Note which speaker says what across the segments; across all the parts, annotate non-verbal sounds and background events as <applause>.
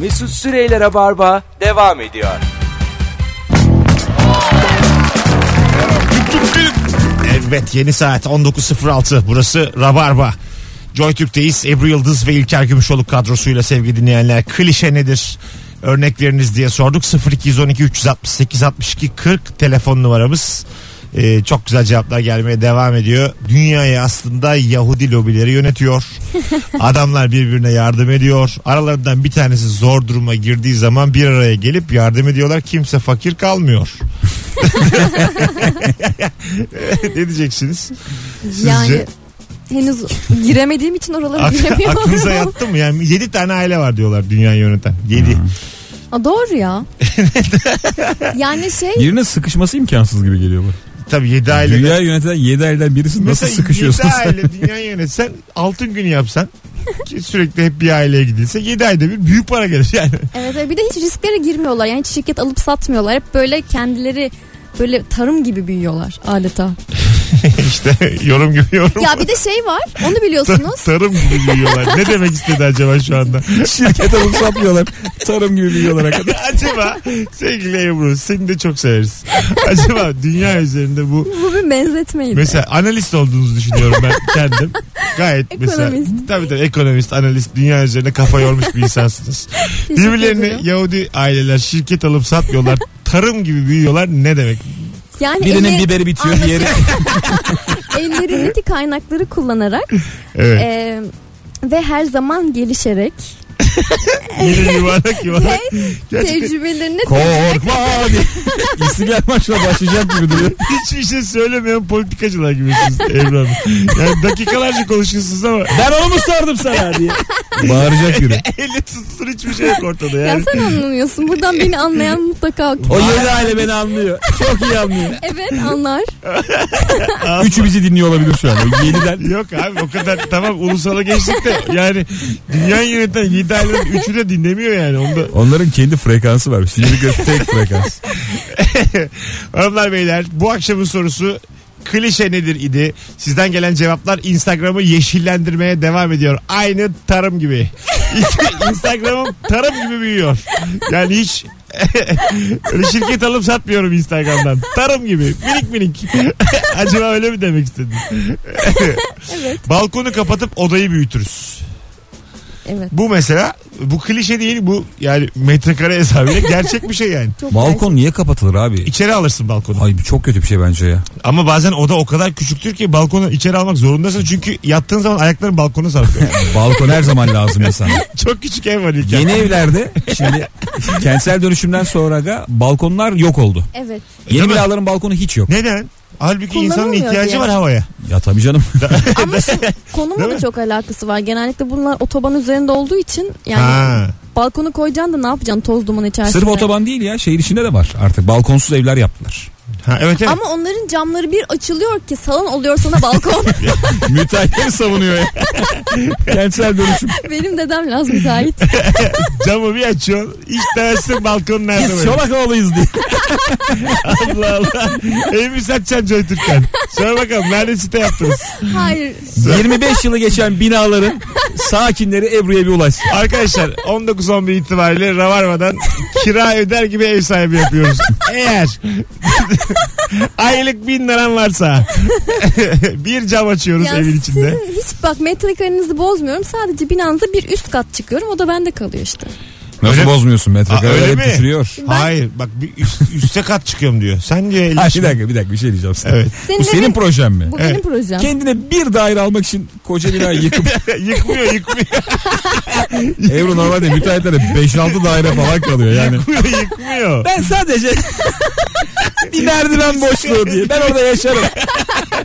Speaker 1: Mesut Süreyler'e barba devam ediyor.
Speaker 2: Evet yeni saat 19.06 burası Rabarba. JoyTürk'teyiz. Ebru Yıldız ve İlker Gümüşoluk kadrosuyla sevgili dinleyenler. Klişe nedir? Örnekleriniz diye sorduk. 0212 368 62 40 telefon numaramız. Ee, çok güzel cevaplar gelmeye devam ediyor. Dünyayı aslında Yahudi lobileri yönetiyor. Adamlar birbirine yardım ediyor. Aralarından bir tanesi zor duruma girdiği zaman bir araya gelip yardım ediyorlar. Kimse fakir kalmıyor. <laughs> ne diyeceksiniz? Sizce?
Speaker 3: Yani henüz giremediğim için oralara
Speaker 2: Ak-
Speaker 3: giremiyorum.
Speaker 2: aklınıza yattı mı? Yani 7 tane aile var diyorlar dünyayı yöneten. 7.
Speaker 3: <laughs>
Speaker 4: Hmm.
Speaker 3: Aa, doğru ya. yani şey
Speaker 4: Yerine sıkışması imkansız gibi geliyor bak.
Speaker 2: Tabii 7 aile.
Speaker 4: Dünya yöneten 7 elden birisi nasıl sıkışıyorsun
Speaker 2: yedi <laughs>
Speaker 4: sen?
Speaker 2: aile dünyayı yönetsen altın günü yapsan ki sürekli hep bir aileye gidilse 7 ayda bir büyük para gelir <laughs> yani.
Speaker 3: evet, evet. bir de hiç risklere girmiyorlar. Yani hiç şirket alıp satmıyorlar. Hep böyle kendileri böyle tarım gibi büyüyorlar adeta.
Speaker 2: işte yorum gibi yorum.
Speaker 3: Ya bir de şey var onu
Speaker 2: Ta- <laughs>
Speaker 3: biliyorsunuz.
Speaker 2: tarım gibi büyüyorlar. ne demek istedi acaba şu anda?
Speaker 4: Şirket alıp satmıyorlar. Tarım gibi biliyorlar kadar.
Speaker 2: acaba sevgili Ebru seni de çok severiz. Acaba dünya üzerinde bu
Speaker 3: Bu bir benzetmeydi.
Speaker 2: Mesela analist olduğunuzu düşünüyorum
Speaker 3: <laughs>
Speaker 2: ben kendim. Gayet mesela.
Speaker 3: Ekonomist.
Speaker 2: Tabii tabii ekonomist, analist, dünya üzerine kafa yormuş bir insansınız.
Speaker 3: <laughs> Teşekkür
Speaker 2: Birbirlerini
Speaker 3: ederim.
Speaker 2: Yahudi aileler şirket alıp satmıyorlar. Tarım gibi büyüyorlar ne demek?
Speaker 3: yani
Speaker 4: Birinin
Speaker 3: eli-
Speaker 4: biberi bitiyor diğeri.
Speaker 3: <laughs> ellerindeki kaynakları kullanarak
Speaker 2: Evet.
Speaker 3: e, ve her zaman gelişerek E, <laughs>
Speaker 2: Yeni yuvarlak yuvarlak. Gerçekten
Speaker 3: tecrübelerini
Speaker 4: Korkma abi. İstiklal maçına başlayacak gibi duruyor.
Speaker 2: hiçbir şey söylemeyen politikacılar gibisiniz Ebru Hanım. Yani dakikalarca konuşuyorsunuz ama <laughs>
Speaker 4: Ben onu mu sardım sana diye. Bağıracak biri.
Speaker 2: elle tutulur hiçbir şey yok ortada
Speaker 3: ya
Speaker 2: yani.
Speaker 3: sen anlamıyorsun. Buradan beni anlayan
Speaker 2: <laughs>
Speaker 3: mutlaka
Speaker 4: O yedi aile beni anlıyor. Çok iyi anlıyor.
Speaker 3: evet anlar.
Speaker 4: Üçü bizi dinliyor olabilir şu anda. Yediden.
Speaker 2: Yok abi o kadar tamam ulusala geçtik de yani dünya yöneten 7 ailenin 3'ü de dinlemiyor yani. Onda
Speaker 4: Onların kendi frekansı var. Sinir göz tek frekans.
Speaker 2: Hanımlar beyler bu akşamın sorusu klişe nedir idi? Sizden gelen cevaplar Instagram'ı yeşillendirmeye devam ediyor. Aynı tarım gibi. <laughs> Instagram'ım tarım gibi büyüyor. Yani hiç <laughs> öyle şirket alıp satmıyorum Instagram'dan. Tarım gibi. Minik minik. <laughs> Acaba öyle mi demek istedin?
Speaker 3: Evet.
Speaker 2: Balkonu kapatıp odayı büyütürüz.
Speaker 3: Evet.
Speaker 2: Bu mesela bu klişe değil bu yani metrekare hesabıyla gerçek bir şey yani.
Speaker 3: Çok
Speaker 4: Balkon niye kapatılır abi?
Speaker 2: İçeri alırsın balkonu.
Speaker 4: Ay bu çok kötü bir şey bence ya.
Speaker 2: Ama bazen oda o kadar küçüktür ki balkonu içeri almak zorundasın. Çünkü yattığın zaman ayakların balkona
Speaker 4: <laughs>
Speaker 2: sarkıyor.
Speaker 4: Balkon her zaman lazım insana.
Speaker 2: Çok küçük ev var ilk.
Speaker 4: Yeni <laughs> evlerde şimdi kentsel dönüşümden sonra da balkonlar yok oldu.
Speaker 3: Evet.
Speaker 2: Değil
Speaker 4: Yeni
Speaker 2: mi?
Speaker 4: binaların balkonu hiç yok.
Speaker 2: Neden? Halbuki insanın
Speaker 3: Kullanılmıyor
Speaker 2: ihtiyacı
Speaker 3: diye.
Speaker 2: var havaya.
Speaker 4: Ya tabii canım.
Speaker 2: <laughs>
Speaker 3: Ama şu konumla
Speaker 2: Değil mi?
Speaker 3: da çok alakası var. Genellikle bunlar otoban üzerinde olduğu için yani
Speaker 2: Ha.
Speaker 3: balkonu koyacaksın da ne yapacaksın toz duman içerisinde.
Speaker 4: Sırf otoban değil ya şehir içinde de var artık. Balkonsuz evler yaptılar.
Speaker 2: ha evet evet.
Speaker 3: Ama onların camları bir açılıyor ki salon oluyor
Speaker 2: <laughs>
Speaker 3: sana balkon.
Speaker 4: Müteahhitleri savunuyor ya. Kentsel dönüşüm.
Speaker 3: Benim dedem Laz müteahhit.
Speaker 2: Camı bir açıyorsun. Hiç dersin balkon nerede
Speaker 4: Biz
Speaker 2: böyle.
Speaker 4: Çolakoğlu'yuz diye.
Speaker 2: Allah Allah. Evimi satacaksın Joytürk'ten. Söyle bakalım nerede site yaptınız?
Speaker 3: Hayır.
Speaker 4: 25 yılı geçen binaların sakinleri Ebru'ya bir ulaşsın.
Speaker 2: Arkadaşlar 19-11 itibariyle Ravarva'dan kira öder gibi ev sahibi yapıyoruz. Eğer aylık bin liran varsa bir cam açıyoruz
Speaker 3: Ya
Speaker 2: evin içinde.
Speaker 3: sizin hiç bak metrekarenizi bozmuyorum. Sadece binanıza bir üst kat çıkıyorum. O da bende kalıyor işte.
Speaker 4: Nasıl
Speaker 2: Öyle-
Speaker 4: bozmuyorsun
Speaker 2: Aa, öyle
Speaker 4: metrekareler
Speaker 2: mi?
Speaker 4: hep düşürüyor.
Speaker 3: Ben-
Speaker 2: Hayır bak bir üst, üste kat çıkıyorum diyor. Sen diyor
Speaker 4: Ha, bir
Speaker 2: elli.
Speaker 4: dakika bir dakika bir şey diyeceğim sana.
Speaker 2: <laughs> Evet.
Speaker 3: Senin
Speaker 4: Bu senin
Speaker 3: evin-
Speaker 4: projen mi?
Speaker 3: Bu
Speaker 2: Evet.
Speaker 3: benim projem.
Speaker 4: Kendine bir daire almak için koca binayı yıkıp <laughs>
Speaker 2: yıkmıyor yıkmıyor
Speaker 4: Ebru normalde müteahhitlere 5-6 daire falan kalıyor yani.
Speaker 2: yıkmıyor yıkmıyor. <laughs>
Speaker 4: Ben sadece bir merdiven boşluğu diye. Ben orada yaşarım.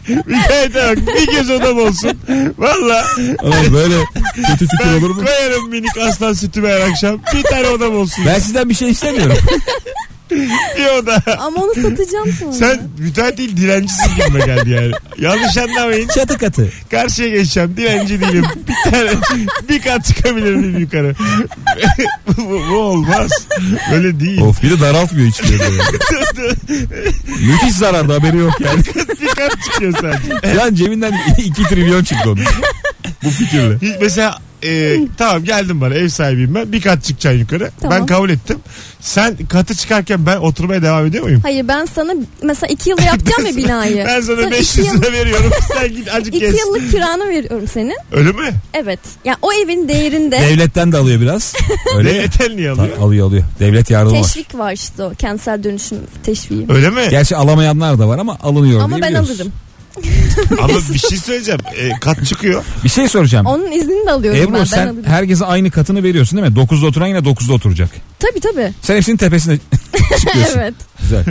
Speaker 2: Bir kayda bak bir göz odam olsun. Valla
Speaker 4: Ama böyle kötü fikir
Speaker 2: ben
Speaker 4: olur mu?
Speaker 2: koyarım minik aslan sütümü her akşam. Bir tane odam olsun.
Speaker 4: Ben sizden bir şey istemiyorum.
Speaker 2: Bir oda.
Speaker 3: Ama onu
Speaker 2: <laughs>
Speaker 3: satacağım sonra.
Speaker 2: Sen müteahhit değil dilencisin gibi geldi yani. Yanlış anlamayın.
Speaker 4: Çatı katı.
Speaker 2: Karşıya geçeceğim. Dilenci
Speaker 4: <laughs>
Speaker 2: değilim. Bir tane bir kat çıkabilir miyim yukarı? <laughs> bu, bu- bu olmaz. Böyle değil.
Speaker 4: Of bir de daraltmıyor içleri. Müthiş zarardı haberi yok yani.
Speaker 2: Bir kat çıkıyor sadece.
Speaker 4: <laughs> Şu an cebinden 2 trilyon çıktı onun. Bu fikirle.
Speaker 2: Hiç mesela e, e, tamam geldim bana ev sahibiyim ben. Bir kat çıkacaksın yukarı.
Speaker 3: Tamam.
Speaker 2: Ben kabul ettim. Sen katı çıkarken ben oturmaya devam ediyor muyum?
Speaker 3: Hayır ben sana mesela iki yılda
Speaker 2: <laughs>
Speaker 3: yapacağım ya binayı.
Speaker 2: Ben sana
Speaker 3: Sana iki
Speaker 2: 500
Speaker 3: yıl-
Speaker 2: lira veriyorum. Sen git acık
Speaker 3: İki
Speaker 2: gez.
Speaker 3: yıllık kiranı veriyorum senin.
Speaker 2: Öyle mi?
Speaker 3: Evet. Yani o evin değerinde
Speaker 4: Devletten de alıyor biraz. Öyle mi?
Speaker 2: Devletten niye alıyor?
Speaker 4: Ta- alıyor alıyor. Devlet yardımı var.
Speaker 3: teşvik var işte o kentsel dönüşüm teşviği.
Speaker 2: Öyle mi?
Speaker 4: Gerçi alamayanlar da var ama alınıyor
Speaker 3: Ama
Speaker 4: diye
Speaker 3: ben
Speaker 4: biliyoruz.
Speaker 3: alırım.
Speaker 2: Ama bir şey söyleyeceğim. E, kat çıkıyor.
Speaker 4: Bir şey soracağım.
Speaker 3: Onun iznini de alıyorum ben.
Speaker 4: Ebru
Speaker 3: ben
Speaker 4: sen
Speaker 3: alırım.
Speaker 4: herkese aynı katını veriyorsun değil mi? 9'da oturan yine 9'da oturacak.
Speaker 3: Tabii tabii.
Speaker 4: Sen
Speaker 3: <laughs>
Speaker 4: hepsinin tepesine çıkıyorsun.
Speaker 3: evet.
Speaker 4: Güzel.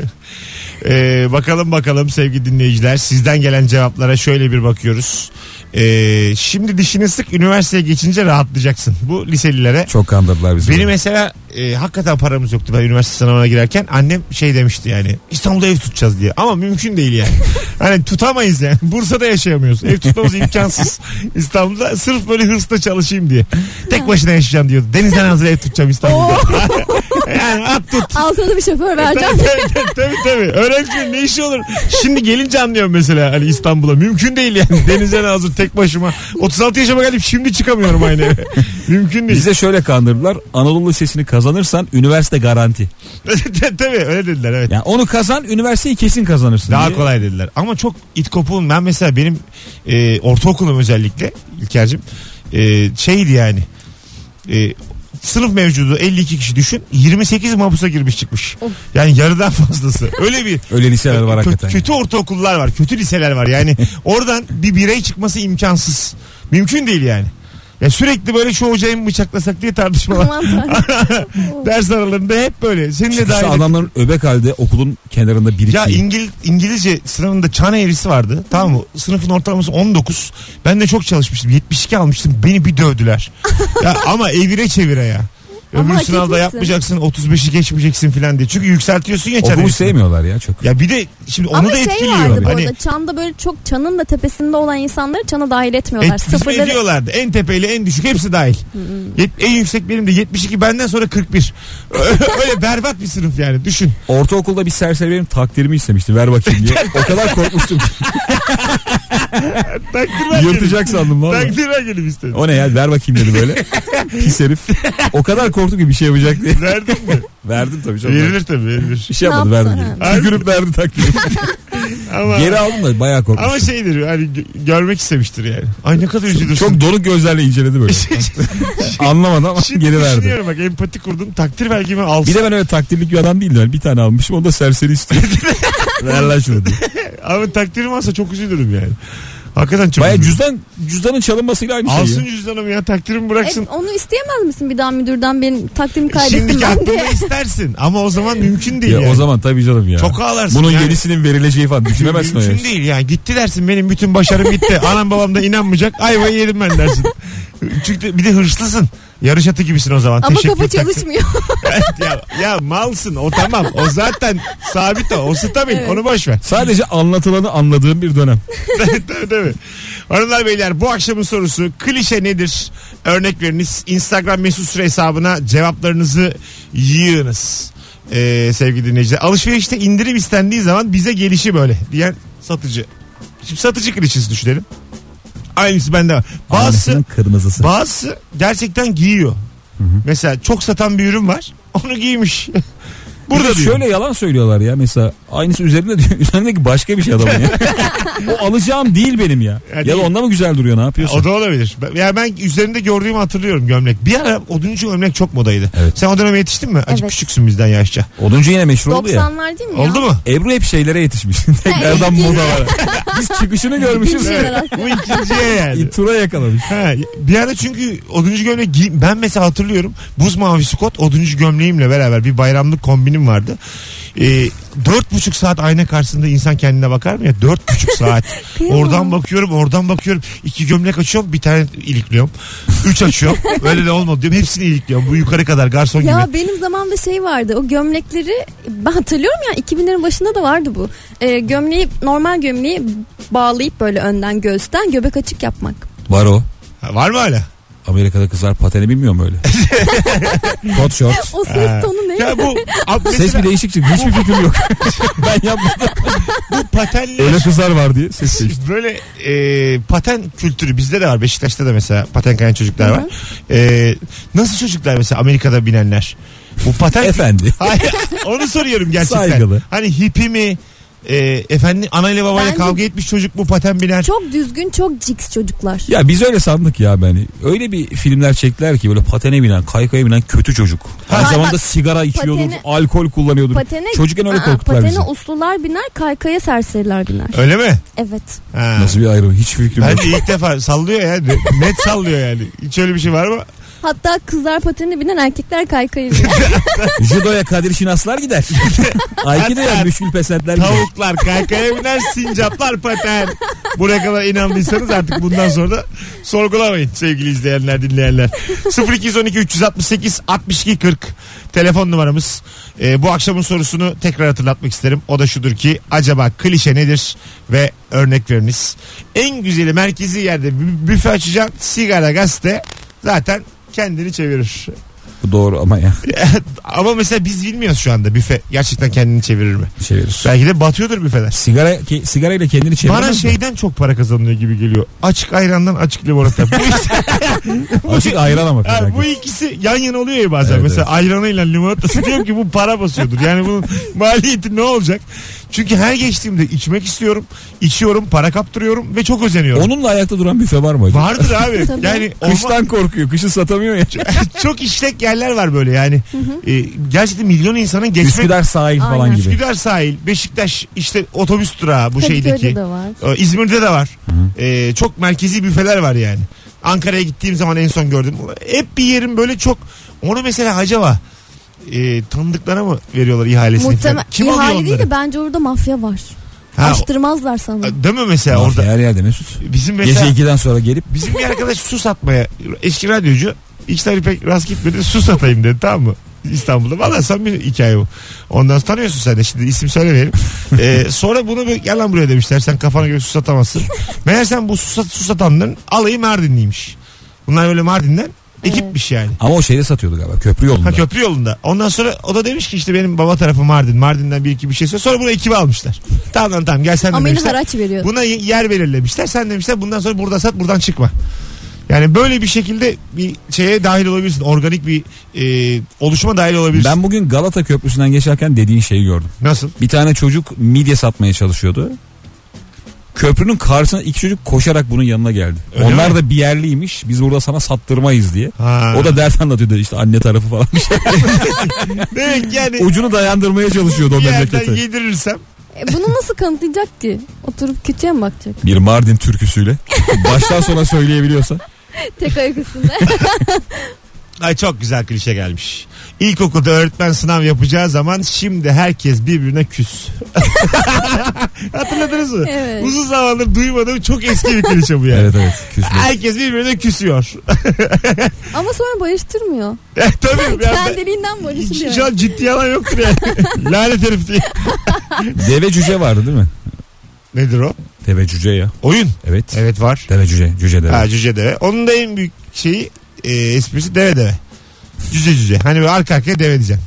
Speaker 2: E, bakalım bakalım sevgili dinleyiciler. Sizden gelen cevaplara şöyle bir bakıyoruz. E, şimdi dişini sık üniversiteye geçince rahatlayacaksın. Bu liselilere.
Speaker 4: Çok kandırdılar bizi.
Speaker 2: Benim mesela e, hakikaten paramız yoktu ben üniversite sınavına girerken annem şey demişti yani İstanbul'da ev tutacağız diye ama mümkün değil yani. hani tutamayız yani Bursa'da yaşayamıyoruz ev tutmamız imkansız İstanbul'da sırf böyle hırsla çalışayım diye. Tek başına yaşayacağım diyordu denizden hazır ev tutacağım İstanbul'da. <laughs> yani at tut.
Speaker 3: Altına da bir şoför
Speaker 2: Tabii
Speaker 3: vereceğim.
Speaker 2: tabii, tabii tabii. Öğrencinin ne işi olur? Şimdi gelince anlıyorum mesela hani İstanbul'a. Mümkün değil yani. Denize hazır tek başıma. 36 yaşıma geldim şimdi çıkamıyorum aynı eve. Mümkün değil.
Speaker 4: Bize şöyle kandırdılar. Anadolu Lisesi'ni kazanırsan üniversite garanti.
Speaker 2: tabii öyle dediler evet.
Speaker 4: Yani onu kazan üniversiteyi kesin kazanırsın.
Speaker 2: Daha
Speaker 4: diye.
Speaker 2: kolay dediler. Ama çok it kopuğum. Ben mesela benim e, ortaokulum özellikle İlker'cim e, şeydi yani. E, sınıf mevcudu 52 kişi düşün. 28 mahpusa girmiş çıkmış.
Speaker 3: Of.
Speaker 2: Yani yarıdan fazlası. Öyle bir
Speaker 4: Öyle liseler var
Speaker 2: Kö-
Speaker 4: hakikaten.
Speaker 2: Kötü ortaokullar var. Kötü liseler var.
Speaker 4: <laughs>
Speaker 2: Yani oradan bir birey çıkması imkansız. Mümkün değil yani. Ya sürekli böyle şu hocayı mı bıçaklasak diye tartışmalar.
Speaker 3: <laughs> Aman tanrım.
Speaker 2: Ders aralarında hep böyle. Seninle
Speaker 4: Çıkışta şey.
Speaker 2: dahil.
Speaker 4: adamların öbek halde okulun kenarında birikti.
Speaker 2: Ya İngil, İngilizce sınavında çan eğrisi vardı. Tamam mı? Sınıfın ortalaması 19. Ben de çok çalışmıştım. 72 almıştım. Beni bir
Speaker 3: <laughs>
Speaker 2: dövdüler. ya, ama evire çevire ya.
Speaker 3: Ama
Speaker 2: Öbür
Speaker 3: hak
Speaker 2: sınavda
Speaker 3: etmişsin.
Speaker 2: yapmayacaksın 35'i geçmeyeceksin filan diye. Çünkü yükseltiyorsun ya çan
Speaker 4: Okulu
Speaker 2: eğrisini.
Speaker 4: sevmiyorlar ya çok.
Speaker 2: Ya bir de şimdi onu
Speaker 3: Ama
Speaker 2: da
Speaker 3: şey
Speaker 2: etkiliyor.
Speaker 3: vardı bu
Speaker 2: Hani-
Speaker 3: arada çanda böyle çok çanın da tepesinde olan insanları çana dahil etmiyorlar.
Speaker 2: Et,
Speaker 3: Sıfırları-
Speaker 2: bizim ediyorlardı. En tepeyle en düşük hepsi dahil.
Speaker 4: Hmm.
Speaker 2: Yet- en yüksek benim de 72 benden sonra 41.
Speaker 4: <laughs>
Speaker 2: Öyle berbat bir sınıf yani düşün.
Speaker 4: Ortaokulda bir serseri benim takdirimi istemişti. Ver bakayım diye. O kadar
Speaker 2: <laughs>
Speaker 4: korkmuştum. ki.
Speaker 2: Takdir ver
Speaker 4: Yırtacak sandım
Speaker 2: gelip.
Speaker 4: valla.
Speaker 2: Takdir ver gelip istedim.
Speaker 4: O ne ya ver bakayım dedi böyle. Pis herif. O kadar korktum ki bir şey yapacak diye.
Speaker 2: Verdin
Speaker 4: <laughs>
Speaker 2: mi?
Speaker 4: Verdim tabii çok.
Speaker 2: Verilir tabii verilir.
Speaker 4: Bir şey yapmadı
Speaker 3: Ne yaptı?
Speaker 4: verdim.
Speaker 3: Ha.
Speaker 4: diye. Tükürüp verdi takdirimi.
Speaker 2: Ama,
Speaker 4: Geri aldım da bayağı korkmuştum.
Speaker 2: ama şeydir hani gö- görmek istemiştir yani. Ay ne kadar üzülürsün.
Speaker 4: Çok donuk gözlerle
Speaker 2: <laughs>
Speaker 4: inceledi böyle. Anlamadı ama
Speaker 2: Şimdi
Speaker 4: <laughs> geri verdi.
Speaker 2: düşünüyorum bak empati kurdum. Takdir belgemi alsın.
Speaker 4: Bir de ben öyle takdirlik bir adam değildim. Yani bir tane almışım onu da
Speaker 2: <laughs>
Speaker 4: serseri istiyor. Ver lan şunu diye.
Speaker 2: Ama takdirim alsa çok üzülürüm yani. Hakikaten çok
Speaker 4: Baya
Speaker 2: üzülürüm.
Speaker 4: cüzdan, cüzdanın çalınmasıyla aynı şey. ya.
Speaker 2: Alsın cüzdanımı ya takdirimi bıraksın.
Speaker 3: E, onu isteyemez misin bir daha müdürden benim takdim kaydettim
Speaker 2: Şimdiki
Speaker 3: ben
Speaker 2: aklını
Speaker 3: diye.
Speaker 2: istersin ama o zaman mümkün değil
Speaker 4: Ya
Speaker 2: yani.
Speaker 4: o zaman tabii canım ya.
Speaker 2: Çok ağlarsın
Speaker 4: Bunun
Speaker 2: yani.
Speaker 4: yenisinin
Speaker 2: <laughs>
Speaker 4: verileceği falan düşünemezsin o
Speaker 2: Mümkün
Speaker 4: yaş.
Speaker 2: değil yani. Gitti dersin benim bütün başarım
Speaker 4: <laughs>
Speaker 2: gitti. Anam babam da inanmayacak. Ayvayı yedim ben dersin. Çünkü bir de hırslısın. Yarış atı gibisin o zaman.
Speaker 3: Ama
Speaker 2: Teşekkür
Speaker 3: kafa
Speaker 2: takdir.
Speaker 3: çalışmıyor.
Speaker 2: ya, ya malsın o tamam. O zaten sabit o. O stabil.
Speaker 3: Evet.
Speaker 2: Onu boş ver.
Speaker 4: Sadece anlatılanı anladığım bir dönem.
Speaker 2: tabii tabii. Hanımlar beyler bu akşamın sorusu klişe nedir? Örnek veriniz. Instagram mesut süre hesabına cevaplarınızı yığınız. Ee, sevgili dinleyiciler. Alışverişte indirim istendiği zaman bize gelişi böyle diyen satıcı. Şimdi satıcı klişesi düşünelim. Aynısı bende var. Bazısı,
Speaker 4: Annesinin kırmızısı.
Speaker 2: bazısı gerçekten giyiyor. Mesela çok satan bir ürün var. <laughs> Onu giymiş.
Speaker 4: Bir
Speaker 2: Burada
Speaker 4: de
Speaker 2: diyor.
Speaker 4: şöyle yalan söylüyorlar ya mesela aynısı üzerinde diyor <laughs> üzerindeki başka bir şey adamın
Speaker 2: <laughs>
Speaker 4: ya. o alacağım değil benim ya.
Speaker 2: Ya
Speaker 4: Ya, da
Speaker 2: değil.
Speaker 4: onda mı güzel duruyor ne yapıyorsun?
Speaker 2: O da olabilir. Ben- Yani ben üzerinde gördüğümü hatırlıyorum gömlek. Bir ara oduncu gömlek çok modaydı.
Speaker 4: Evet.
Speaker 2: Sen o döneme yetiştin mi? Acık
Speaker 3: Evet.
Speaker 2: küçüksün bizden yaşça.
Speaker 4: Oduncu yine meşhur oldu ya.
Speaker 3: 90'lar değil mi ya?
Speaker 2: Oldu
Speaker 3: <laughs>
Speaker 2: mu?
Speaker 4: Ebru hep şeylere yetişmiş. <laughs> Tekrardan
Speaker 3: ikinci-
Speaker 4: moda var. Biz çıkışını görmüşüz.
Speaker 3: İkinci-
Speaker 2: Evet. Bu ikinciye
Speaker 4: <laughs>
Speaker 2: yani.
Speaker 4: İtura yakalamış.
Speaker 2: Ha, bir ara çünkü oduncu gömlek giy- ben mesela hatırlıyorum buz mavisi kot oduncu gömleğimle beraber bir bayramlık kombinim vardı. Ee, Dört buçuk saat ayna karşısında insan kendine bakar mı ya? Dört buçuk saat.
Speaker 3: <laughs> Kıyamam.
Speaker 2: oradan bakıyorum oradan bakıyorum. İki gömlek açıyorum bir tane ilikliyorum. Üç açıyorum. Öyle de olmadı diyorum. Hepsini ilikliyorum. Bu yukarı kadar garson gibi.
Speaker 3: Ya benim zamanımda şey vardı o gömlekleri ben hatırlıyorum ya 2000'lerin başında da vardı bu. Ee, gömleği normal gömleği bağlayıp böyle önden göğüsten göbek açık yapmak.
Speaker 4: Var o.
Speaker 2: Ha, var mı hala?
Speaker 4: Amerika'da kızlar pateni bilmiyor mu <laughs> öyle? Kot short.
Speaker 3: O ses tonu ne?
Speaker 2: Ya
Speaker 4: <laughs>
Speaker 2: bu abi
Speaker 4: Ses
Speaker 2: mesela
Speaker 4: bir değişik çıktı. Hiçbir fikrim <laughs> yok. ben yapmadım. Şey,
Speaker 2: bu patenle
Speaker 4: Öyle kızlar var diye ses değişti.
Speaker 2: <laughs> böyle e, paten kültürü bizde de var. Beşiktaş'ta da mesela paten kayan çocuklar var. E, nasıl çocuklar mesela Amerika'da binenler? Bu paten
Speaker 4: Efendi.
Speaker 2: <laughs> Hayır, onu soruyorum gerçekten.
Speaker 4: Saygılı.
Speaker 2: Hani hippi mi? E, efendim anayla babayla
Speaker 3: Bence-
Speaker 2: kavga etmiş çocuk mu paten biner?
Speaker 3: Çok düzgün, çok ciks çocuklar.
Speaker 4: Ya biz öyle sandık ya ben. Öyle bir filmler çektiler ki böyle patene binen, kaykaya binen kötü çocuk. Aynı
Speaker 3: Ha,
Speaker 4: zamanda
Speaker 3: bak,
Speaker 4: sigara içiyordu,
Speaker 3: patene-
Speaker 4: alkol kullanıyordu.
Speaker 3: Patene,
Speaker 4: Çocukken öyle
Speaker 3: Aa,
Speaker 4: korkuttular
Speaker 3: patene
Speaker 4: bizi.
Speaker 3: uslular biner, kaykaya serseriler biner.
Speaker 2: Öyle mi?
Speaker 3: Evet.
Speaker 2: Ha.
Speaker 4: Nasıl bir ayrım? Hiç fikrim yok.
Speaker 2: Bence ilk defa sallıyor ya. Net sallıyor yani. Hiç öyle bir şey var mı?
Speaker 3: Hatta kızlar patene binen, erkekler kaykaya biner.
Speaker 4: Judoya Kadir
Speaker 2: <laughs>
Speaker 4: Şinaslar gider. Aikido'ya müşkül pesentler gider.
Speaker 2: Tavuklar kaykaya biner, sincaplar paten. Buraya kadar inandıysanız artık bundan sonra da sorgulamayın sevgili izleyenler, dinleyenler. 0212 368 62 40 telefon numaramız. Ee, bu akşamın sorusunu tekrar hatırlatmak isterim. O da şudur ki acaba klişe nedir ve örnek veriniz. En güzeli merkezi yerde bü- büfe açacaksın sigara gazete zaten kendini çevirir.
Speaker 4: Bu doğru ama ya.
Speaker 2: Ama mesela biz bilmiyoruz şu anda büfe gerçekten kendini çevirir mi?
Speaker 4: Çevirir.
Speaker 2: Belki de batıyordur büfeler.
Speaker 4: şey Sigara, ki, sigarayla kendini çevirmez
Speaker 2: Bana şey-
Speaker 4: mi?
Speaker 2: şeyden çok para kazanılıyor gibi geliyor. Açık ayrandan açık limonata.
Speaker 4: <laughs>
Speaker 2: Bu, ikisi-
Speaker 4: Açık ayran ama.
Speaker 2: Ha,
Speaker 4: felaket.
Speaker 2: bu ikisi yan yana oluyor ya bazen.
Speaker 4: Evet,
Speaker 2: Mesela ayranıyla limonatası diyorum ki bu para basıyordur. Yani
Speaker 4: <laughs>
Speaker 2: bunun maliyeti ne olacak? Çünkü her geçtiğimde içmek istiyorum. içiyorum, para kaptırıyorum ve çok özeniyorum.
Speaker 4: Onunla ayakta duran büfe var mı acaba?
Speaker 2: Vardır
Speaker 4: <laughs>
Speaker 2: abi.
Speaker 3: Tabii.
Speaker 2: yani olma-
Speaker 4: Kıştan korkuyor. Kışı satamıyor ya.
Speaker 2: <laughs> çok işlek yerler var böyle yani. Ee, gerçekten milyon insanın geçmek
Speaker 4: Üsküdar sahil
Speaker 3: Aynen.
Speaker 4: falan gibi.
Speaker 2: Üsküdar sahil, Beşiktaş işte otobüs durağı <laughs> bu şeydeki.
Speaker 3: Kadıköy'de Hani de var.
Speaker 2: Ee, İzmir'de de var. Ee, çok merkezi büfeler var yani. Ankara'ya gittiğim zaman en son gördüm. Hep bir yerim böyle çok onu mesela acaba e, tanıdıklara mı veriyorlar ihalesini?
Speaker 3: Muhtemelen
Speaker 2: falan? Kim alıyor
Speaker 3: ihale
Speaker 2: onları?
Speaker 3: değil de bence orada mafya var.
Speaker 2: Ha,
Speaker 3: Açtırmazlar sana.
Speaker 2: değil mi mesela
Speaker 4: Mafya
Speaker 2: orada?
Speaker 4: Her yerde Mesut.
Speaker 2: Bizim mesela
Speaker 4: Gece 2'den sonra gelip
Speaker 2: bizim bir arkadaş su satmaya eski radyocu işleri pek rast gitmedi su satayım dedi tamam mı? İstanbul'da. Valla sen bir hikaye bu. Ondan sonra tanıyorsun sen de şimdi isim söylemeyelim. Ee, sonra bunu bir, gel lan buraya demişler sen kafana göre su satamazsın. Meğersem bu su, sat, su satanların alayı Mardinliymiş. Bunlar böyle Mardin'den ekipmiş yani.
Speaker 4: ama o şeyde satıyordu galiba köprü yolunda.
Speaker 2: Ha köprü yolunda. Ondan sonra o da demiş ki işte benim baba tarafı Mardin. Mardin'den bir iki bir şey söylüyor. Sonra bunu ekibe almışlar. Tamam lan tamam gel sen de
Speaker 3: Ameli
Speaker 2: demişler.
Speaker 3: haraç veriyor.
Speaker 2: Buna y- yer belirlemişler. Sen demişler bundan sonra burada sat buradan çıkma. Yani böyle bir şekilde bir şeye dahil olabilirsin. Organik bir e, oluşuma dahil olabilirsin.
Speaker 4: ben bugün Galata Köprüsü'nden geçerken dediğin şeyi gördüm.
Speaker 2: Nasıl?
Speaker 4: Bir tane çocuk midye satmaya çalışıyordu. Köprünün karşısına iki çocuk koşarak bunun yanına geldi.
Speaker 2: Öyle
Speaker 4: Onlar
Speaker 2: mi?
Speaker 4: da bir yerliymiş. Biz burada sana sattırmayız diye.
Speaker 2: Ha. <laughs>
Speaker 4: O da dert anlatıyordu işte anne tarafı <laughs> falan.
Speaker 2: Demek ki yani
Speaker 4: Ucunu dayandırmaya çalışıyordu o
Speaker 2: bir yerden
Speaker 4: memlekete.
Speaker 2: yedirirsem.
Speaker 3: E, bunu nasıl kanıtlayacak ki? Oturup kötüye mi bakacak?
Speaker 4: Bir Mardin <laughs> türküsüyle baştan sona söyleyebiliyorsa.
Speaker 3: <laughs> Tek ayak üstünde.
Speaker 2: Ay çok güzel klişe gelmiş. İlkokulda öğretmen sınav yapacağı zaman şimdi herkes birbirine küs. <laughs> Hatırladınız mı?
Speaker 3: Evet.
Speaker 2: Uzun zamandır duymadığım çok eski bir klişe bu yani.
Speaker 4: Evet evet küsme.
Speaker 2: Herkes birbirine küsüyor. <laughs>
Speaker 3: Ama sonra barıştırmıyor.
Speaker 2: Tabii. <laughs> ben-
Speaker 3: Kendiliğinden
Speaker 2: Şu
Speaker 3: barışılıyor.
Speaker 2: an ciddi yalan yoktur yani. Lanet herif diye.
Speaker 4: Deve cüce vardı değil mi?
Speaker 2: Nedir o?
Speaker 4: Deve cüce ya.
Speaker 2: Oyun.
Speaker 4: Evet.
Speaker 2: Evet var.
Speaker 4: Deve cüce. Cüce deve.
Speaker 2: Ha cüce deve. Onun da en büyük şeyi e, esprisi deve deve. Cüce cüce. Hani böyle arka arkaya deve diyeceksin.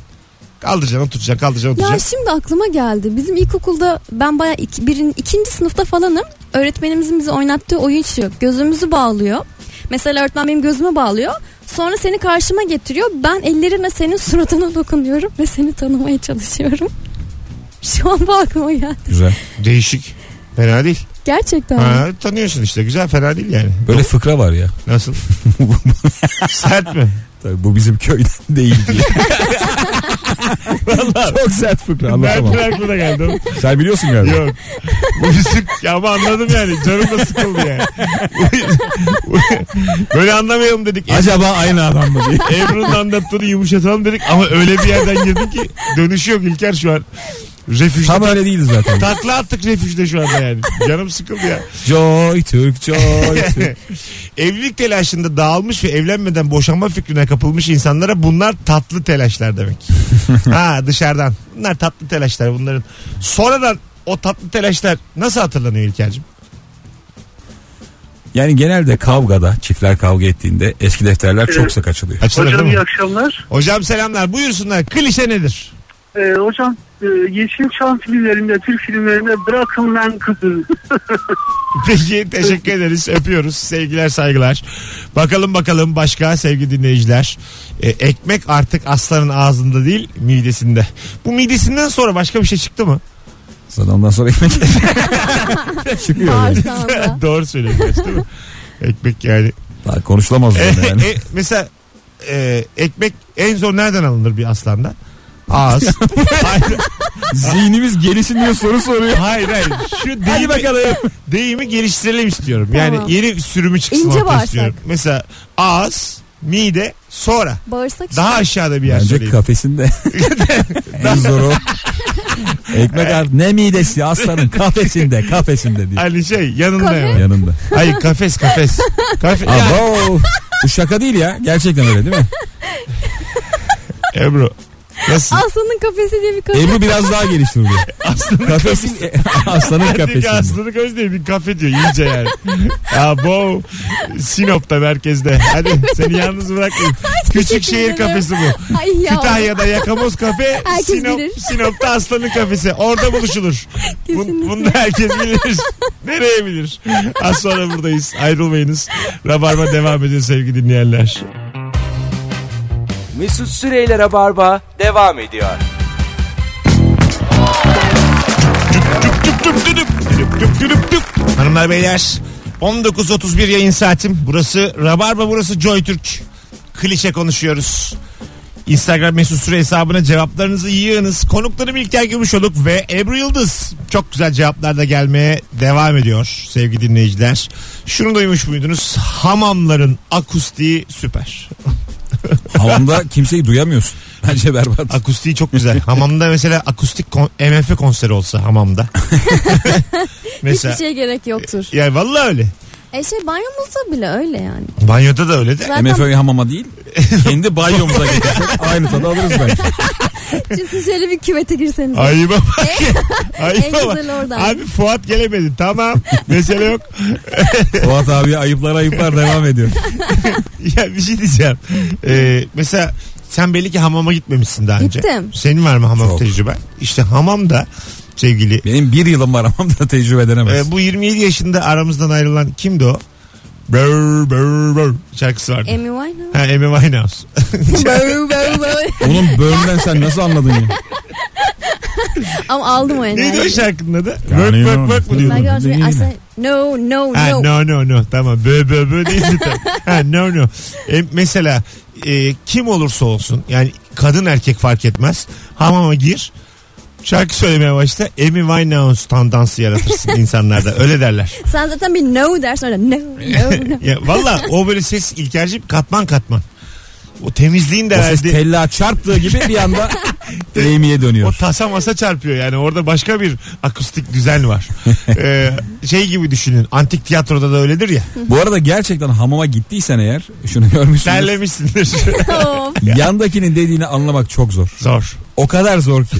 Speaker 2: Kaldıracaksın oturacaksın kaldıracaksın
Speaker 3: Ya
Speaker 2: oturacaksın.
Speaker 3: şimdi aklıma geldi. Bizim ilkokulda ben baya iki, birin, ikinci sınıfta falanım. Öğretmenimizin bize oynattığı oyun şu. Gözümüzü bağlıyor. Mesela öğretmen benim gözüme bağlıyor. Sonra seni karşıma getiriyor. Ben ellerimle senin suratına dokunuyorum ve seni tanımaya çalışıyorum. <laughs> Şu an bu aklıma geldi.
Speaker 4: Güzel.
Speaker 2: Değişik. Fena değil.
Speaker 3: Gerçekten.
Speaker 2: Ha, tanıyorsun işte güzel fena değil yani.
Speaker 4: Böyle fıkra var ya. <laughs>
Speaker 2: Nasıl? Sert mi?
Speaker 4: Tabii bu bizim köyden <laughs> değil diye. Vallahi. Çok sert fıkra anlatamam.
Speaker 2: Nereden aklına geldi oğlum?
Speaker 4: Sen biliyorsun galiba.
Speaker 2: Yok. Bu bizim ya ama anladım yani. Canım da sıkıldı
Speaker 4: <laughs>
Speaker 2: yani. Böyle anlamayalım dedik.
Speaker 4: Acaba aynı adam mı diye.
Speaker 2: Ebru'nun anlattığını yumuşatalım dedik ama öyle bir yerden girdi ki dönüşü yok İlker şu an. Refüjde.
Speaker 4: <laughs> Tam öyle değildi zaten.
Speaker 2: Takla attık refüjde şu anda yani. Canım sıkıldı ya.
Speaker 4: Joy Türk Joy Türk.
Speaker 2: Evlilik telaşında dağılmış ve evlenmeden boşanma fikrine kapılmış insanlara bunlar tatlı telaşlar demek. ha dışarıdan. Bunlar tatlı telaşlar bunların. Sonradan o tatlı telaşlar nasıl hatırlanıyor İlker'cim?
Speaker 4: <laughs> Yani genelde kavgada çiftler kavga ettiğinde eski defterler çok sık açılıyor.
Speaker 2: Açılır
Speaker 5: Hocam
Speaker 2: değil
Speaker 5: iyi
Speaker 2: mi?
Speaker 5: akşamlar.
Speaker 2: Hocam selamlar. Buyursunlar. Klişe nedir?
Speaker 5: Ee, hocam e, Yeşilçam filmlerinde, Türk filmlerinde bırakın lan kızı.
Speaker 2: Peki teşekkür ederiz. Öpüyoruz. Sevgiler saygılar. Bakalım bakalım başka sevgili dinleyiciler. Ee, ekmek artık aslanın ağzında değil midesinde. Bu midesinden sonra başka bir şey çıktı mı?
Speaker 4: Zaten ondan sonra ekmek <laughs> çıkıyor. yani.
Speaker 3: Bağırsağında.
Speaker 2: <laughs> Doğru söylüyorsun gerçi değil mi? Ekmek yani.
Speaker 4: Daha konuşulamaz zaten yani.
Speaker 2: E, mesela e, ekmek en zor nereden alınır bir aslanda?
Speaker 3: <laughs>
Speaker 2: Ağız. hayır,
Speaker 4: Zihnimiz gelişin diye soru soruyor.
Speaker 2: hayır hayır. Şu
Speaker 4: Hadi
Speaker 2: deyimi,
Speaker 4: bakalım.
Speaker 2: deyimi geliştirelim istiyorum. Yani
Speaker 3: Tamam.
Speaker 2: yeni sürümü çıksın
Speaker 3: İnce
Speaker 2: ortaya
Speaker 3: bağırsak.
Speaker 2: istiyorum. Mesela ağız, mide, sonra.
Speaker 3: Bağırsak işte.
Speaker 2: Daha aşağıda bir yer
Speaker 4: Bence
Speaker 2: söyleyeyim.
Speaker 4: <laughs> kafesinde. en zoru. Ekmek artık ne midesi aslanın kafesinde kafesinde diyor.
Speaker 2: Hani şey yanında
Speaker 3: Kafe.
Speaker 2: hemen.
Speaker 4: Yanında.
Speaker 2: Hayır kafes
Speaker 3: <laughs>
Speaker 2: kafes. Kafe. ya,
Speaker 4: Abo. Bu şaka değil ya. Gerçekten öyle değil mi?
Speaker 2: Ebru. Nasıl?
Speaker 3: Aslanın kafesi diye bir kafe.
Speaker 4: Ebru biraz daha
Speaker 2: <laughs>
Speaker 4: gelişti bunu. Aslanın kafesin, <laughs> aslanın
Speaker 2: Hadi
Speaker 4: kafesinde.
Speaker 2: Aslanı göz değil bir kafe diyor iyice
Speaker 3: <laughs>
Speaker 2: yani. Abo. Sinop'ta merkezde. Hadi seni yalnız
Speaker 3: <laughs>
Speaker 2: bırakmayayım. Küçük
Speaker 3: teşekkür
Speaker 2: şehir
Speaker 3: ederim.
Speaker 2: kafesi bu.
Speaker 3: <laughs> Ay ya.
Speaker 2: Kütahya'da Yakamoz Kafe,
Speaker 3: <laughs> Herkes
Speaker 2: Sinop,
Speaker 3: bilir.
Speaker 2: Sinop'ta Aslan'ın kafesi. Orada buluşulur.
Speaker 3: <laughs>
Speaker 2: Bun,
Speaker 3: Kesinlikle.
Speaker 2: bunu da herkes bilir. <laughs> Nereye bilir? Az sonra buradayız. Ayrılmayınız. Rabarba devam ediyor sevgili dinleyenler.
Speaker 1: Mesut Süreyler'e barba devam ediyor.
Speaker 2: Düp düdüp, düdüp düp düdüp düp. Hanımlar beyler 19.31 yayın saatim. Burası Rabarba burası JoyTürk. Klişe konuşuyoruz. Instagram mesut süre hesabına cevaplarınızı yığınız. Konuklarım İlker Gümüşoluk ve Ebru Yıldız. Çok güzel cevaplar da gelmeye devam ediyor sevgili dinleyiciler. Şunu duymuş muydunuz? Hamamların akustiği süper.
Speaker 4: Havamda kimseyi duyamıyorsun. Bence berbat.
Speaker 2: Akustiği çok güzel. hamamda mesela akustik kon- MF konseri olsa hamamda. <laughs>
Speaker 3: Hiçbir
Speaker 2: mesela.
Speaker 3: şeye gerek yoktur.
Speaker 2: Ya vallahi öyle.
Speaker 3: E şey banyomuzda bile öyle yani.
Speaker 2: Banyoda da öyle de.
Speaker 3: Zaten
Speaker 4: MFÖ
Speaker 2: <laughs>
Speaker 4: hamama değil. Kendi banyomuza getirsek aynı tadı alırız bence.
Speaker 3: siz şöyle bir küvete girseniz.
Speaker 2: Ayıba bak.
Speaker 3: en
Speaker 2: Ayıba bak.
Speaker 3: güzel oradan.
Speaker 2: Abi Fuat gelemedi. Tamam. Mesele yok. <laughs>
Speaker 4: Fuat abi ayıplar ayıplar devam ediyor.
Speaker 2: ya bir şey diyeceğim. Ee, mesela sen belli ki hamama gitmemişsin daha önce.
Speaker 3: Gittim.
Speaker 2: Senin var mı hamam
Speaker 4: Çok.
Speaker 2: tecrüben? İşte hamamda sevgili
Speaker 4: Benim bir yılım var hamamda tecrübe edinemez.
Speaker 2: e, bu 27 yaşında aramızdan ayrılan kimdi o? Brr, brr, brr şarkısı vardı.
Speaker 3: Amy Winehouse. <laughs>
Speaker 2: ha, Amy Winehouse. şey-
Speaker 3: Bağır, bağır, bağır.
Speaker 4: Onun bölümden sen nasıl
Speaker 2: <laughs>
Speaker 4: anladın ya?
Speaker 3: Ama aldım o enerjiyi.
Speaker 2: Neydi o şarkının adı? Work work
Speaker 4: Yani inanılmaz.
Speaker 2: work mu diyordu?
Speaker 3: Ben gördüm.
Speaker 4: Neydi?
Speaker 3: I said, no no
Speaker 2: Ha,
Speaker 3: no.
Speaker 2: no no no tamam bö bö bö değil zaten. ha, no no. E, mesela e, kim olursa olsun yani kadın erkek fark etmez hamama gir şarkı söylemeye başla Amy Winehouse tandansı yaratırsın insanlarda öyle derler.
Speaker 3: Sen zaten bir no dersin öyle no
Speaker 2: <laughs>
Speaker 3: no no.
Speaker 2: Ya, Valla o böyle ses ilkerci katman katman. O temizliğin de
Speaker 4: O ses
Speaker 2: herhalde
Speaker 4: tella çarptığı gibi bir
Speaker 2: <laughs>
Speaker 4: anda leymiye dönüyor.
Speaker 2: o tasa masa çarpıyor yani orada başka bir akustik düzen
Speaker 4: <laughs>
Speaker 2: var. Ee, şey gibi düşünün antik tiyatroda da öyledir ya
Speaker 4: Bu arada gerçekten hamama gittiysen eğer şunu görmüşsünüz. <laughs>
Speaker 2: terlemişsindir.
Speaker 3: Of.
Speaker 4: Yandakinin dediğini anlamak çok zor.
Speaker 2: Zor.
Speaker 4: O kadar zor
Speaker 3: <laughs>
Speaker 4: ki.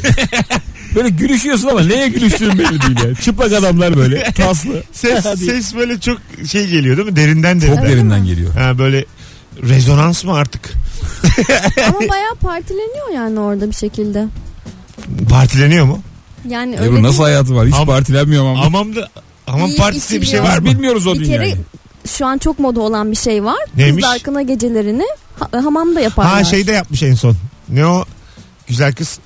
Speaker 4: böyle gülüşüyorsun ama neye gülüştüğün belli değil ya. Çıplak adamlar böyle taslı.
Speaker 2: Ses,
Speaker 4: Hadi.
Speaker 2: ses böyle çok şey geliyor değil mi? Derinden
Speaker 4: Çok
Speaker 2: derinden.
Speaker 4: derinden geliyor.
Speaker 2: Ha, böyle rezonans mı artık?
Speaker 3: Ama
Speaker 2: <laughs>
Speaker 3: bayağı partileniyor yani orada bir şekilde.
Speaker 2: Partileniyor mu?
Speaker 3: Yani öyle
Speaker 4: Ebru nasıl
Speaker 3: değil.
Speaker 4: hayatı var? Hiç
Speaker 2: Ama-
Speaker 4: partilenmiyor ama.
Speaker 2: Hamamda hamam
Speaker 3: İyi
Speaker 2: partisi diye bir şey
Speaker 3: içiliyor.
Speaker 2: var
Speaker 4: Biz
Speaker 2: mı?
Speaker 4: bilmiyoruz o
Speaker 3: Bir kere
Speaker 4: dünyayı.
Speaker 3: şu an çok moda olan bir şey var.
Speaker 2: Neymiş?
Speaker 3: Kızlar kına gecelerini ha- hamamda yaparlar.
Speaker 2: Ha şey şeyde yapmış en son. Ne o? Güzel kız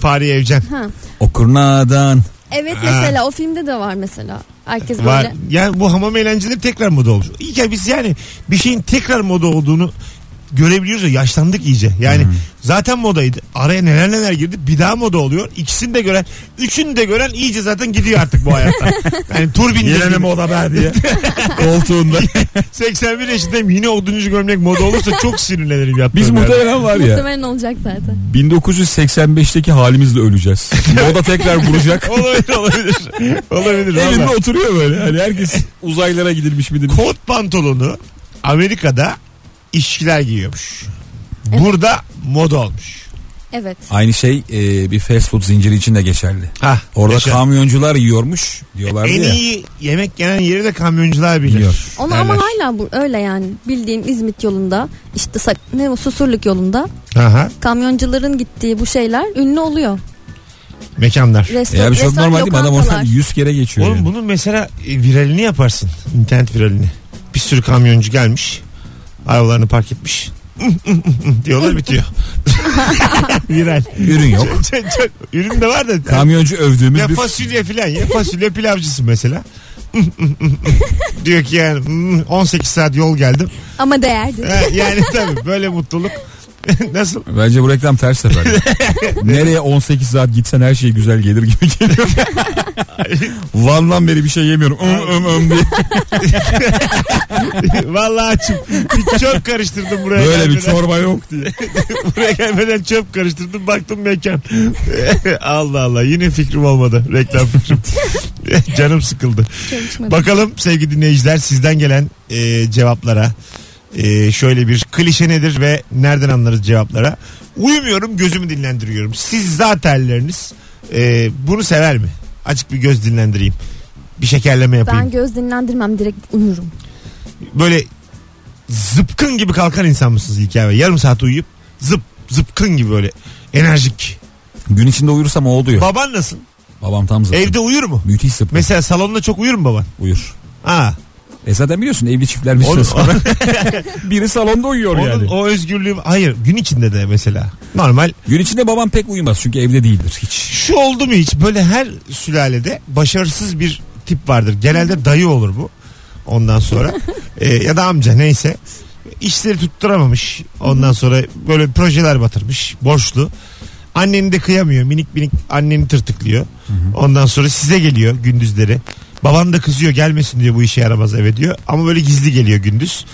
Speaker 2: Fahriye Evcen.
Speaker 3: Ha.
Speaker 4: O kurnadan.
Speaker 3: Evet
Speaker 2: Ha.
Speaker 3: mesela o filmde de var mesela. Herkes böyle
Speaker 2: Var. Yani bu hamam eğlenceleri tekrar moda oldu. İyi ki biz yani bir şeyin tekrar moda olduğunu görebiliyoruz ya yaşlandık iyice. Yani zaten modaydı. Araya neler neler girdi. Bir daha moda oluyor. İkisini de gören, üçünü de gören iyice zaten gidiyor artık bu hayatta. Yani tur bindirdiğini-
Speaker 4: moda
Speaker 3: <laughs>
Speaker 4: be diye. Koltuğunda.
Speaker 2: 81 yaşındayım yine oduncu gömlek moda olursa çok sinirlenirim
Speaker 3: <laughs>
Speaker 2: yattığım
Speaker 4: Biz
Speaker 2: yerde.
Speaker 4: muhtemelen var ya.
Speaker 3: muhtemelen olacak zaten.
Speaker 4: 1985'teki
Speaker 3: <laughs>
Speaker 4: halimizle öleceğiz. Moda tekrar vuracak.
Speaker 2: Olabilir olabilir. olabilir
Speaker 4: Evinde
Speaker 2: valla.
Speaker 4: oturuyor böyle. Hani herkes uzaylara gidilmiş midir?
Speaker 2: Kot pantolonu Amerika'da işçiler giyiyormuş. Burada moda olmuş.
Speaker 3: Evet.
Speaker 4: Aynı şey e, bir fast food zinciri için de geçerli.
Speaker 2: Ha,
Speaker 4: Orada
Speaker 2: yaşa.
Speaker 4: kamyoncular yiyormuş diyorlar
Speaker 2: en
Speaker 4: ya.
Speaker 2: iyi yemek yenen yeri de kamyoncular bilir.
Speaker 4: Biliyor.
Speaker 3: Onu
Speaker 2: Derler.
Speaker 3: ama hala bu, öyle yani bildiğin İzmit yolunda işte Sak- ne o, Susurluk yolunda
Speaker 2: Aha,
Speaker 3: kamyoncuların gittiği bu şeyler ünlü oluyor.
Speaker 2: mekanlar.
Speaker 3: Resto,
Speaker 4: Ya bir şey çok
Speaker 3: restoran,
Speaker 4: normal değil mi? Adam oradan
Speaker 3: lokantalar.
Speaker 4: 100 kere geçiyor.
Speaker 2: Oğlum
Speaker 4: yani.
Speaker 2: bunun mesela e, viralini yaparsın. İnternet viralini. Bir sürü kamyoncu gelmiş. Arabalarını park etmiş. <laughs> diyorlar bitiyor. Viral.
Speaker 4: Ürün yok.
Speaker 2: <laughs> Çok- çok- Ürün de var da.
Speaker 4: Kamyoncu övdüğümüz
Speaker 2: ya
Speaker 4: bir
Speaker 2: fasulye filan ya fasulye pilavcısın mesela. <laughs> Diyor ki yani "Hmm, 18 saat yol geldim. <laughs>
Speaker 3: Ama değerdi.
Speaker 2: Ha, yani tabii böyle mutluluk. <laughs> Nasıl? <laughs>
Speaker 4: Bence bu reklam ters sefer. Nereye 18 saat gitsen her şey güzel gelir gibi
Speaker 2: <laughs>
Speaker 4: geliyor. Van'dan beri bir şey yemiyorum. Öm öm
Speaker 2: <laughs>
Speaker 4: öm diye.
Speaker 2: Vallahi açım. Bir çöp karıştırdım buraya.
Speaker 4: Böyle bir
Speaker 2: gelmeden.
Speaker 4: çorba yok diye.
Speaker 2: Buraya gelmeden çöp karıştırdım baktım mekan. <laughs> Allah Allah yine fikrim olmadı. Reklam fikrim. <laughs> Canım sıkıldı.
Speaker 3: Çalışmadı.
Speaker 2: Bakalım sevgili dinleyiciler sizden gelen e, cevaplara. E, şöyle bir klişe nedir ve nereden anlarız cevaplara. Uyumuyorum gözümü dinlendiriyorum. Siz zatenleriniz e, bunu sever mi? Açık bir göz dinlendireyim. Bir şekerleme
Speaker 3: Ben
Speaker 2: yapayım.
Speaker 3: göz dinlendirmem direkt uyurum.
Speaker 2: Böyle zıpkın gibi kalkan insan mısınız hikaye? Yarım saat uyuyup zıp zıpkın gibi böyle enerjik.
Speaker 4: Gün içinde uyursam o oluyor.
Speaker 2: Baban nasıl?
Speaker 4: Babam tam zıttı.
Speaker 2: Evde uyur mu?
Speaker 4: Müthiş zıplıyor.
Speaker 2: Mesela salonda çok uyur mu baban?
Speaker 4: Uyur.
Speaker 2: Ha.
Speaker 4: E zaten biliyorsun evli çiftler bir süre
Speaker 2: Onun- <laughs>
Speaker 4: sonra biri salonda uyuyor
Speaker 2: Onun
Speaker 4: yani.
Speaker 2: o özgürlüğü hayır gün içinde de mesela. Normal
Speaker 4: Gün içinde babam pek uyumaz çünkü evde değildir hiç.
Speaker 2: şu oldu mu hiç böyle her sülalede başarısız bir tip vardır. Genelde dayı olur bu. Ondan sonra Ee, ya da amca neyse işleri tutturamamış. Ondan sonra böyle projeler batırmış, borçlu. Anneni de kıyamıyor. Minik minik anneni tırtıklıyor. Ondan sonra size geliyor gündüzleri. Baban da kızıyor gelmesin diyor bu işe yaramaz eve diyor. Ama böyle gizli geliyor gündüz.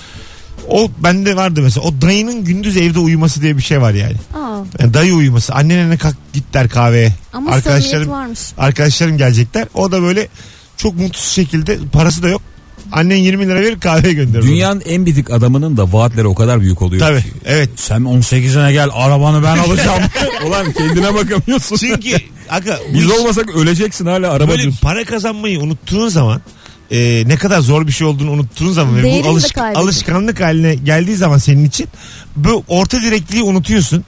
Speaker 2: O bende vardı mesela. O dayının gündüz evde uyuması diye bir şey var yani.
Speaker 3: Aa,
Speaker 2: Yani E, dayı uyuması. Annene ne kalk git der kahveye.
Speaker 3: ama
Speaker 2: arkadaşlarım
Speaker 3: samimiyet varmış.
Speaker 2: arkadaşlarım gelecekler. O da böyle çok mutsuz şekilde parası da yok. Annen 20 lira verir kahveye gönderir. onu.
Speaker 4: Dünyanın en bitik adamının da vaatleri o kadar büyük oluyor
Speaker 2: Tabii
Speaker 4: ki.
Speaker 2: evet.
Speaker 4: Sen 18'ine gel arabanı ben
Speaker 2: <laughs>
Speaker 4: alacağım. Ulan kendine bakamıyorsun.
Speaker 2: Çünkü aga, bu
Speaker 4: Biz
Speaker 2: iş-
Speaker 4: olmasak öleceksin hala araba
Speaker 2: böyle
Speaker 4: diyorsun.
Speaker 2: para kazanmayı unuttuğun zaman e, ne kadar zor bir şey olduğunu unuttuğun zaman ve
Speaker 3: Değerini
Speaker 2: bu
Speaker 3: de
Speaker 2: alışk-
Speaker 3: kaybediyor.
Speaker 2: alışkanlık haline geldiği zaman senin için bu orta direkliği unutuyorsun.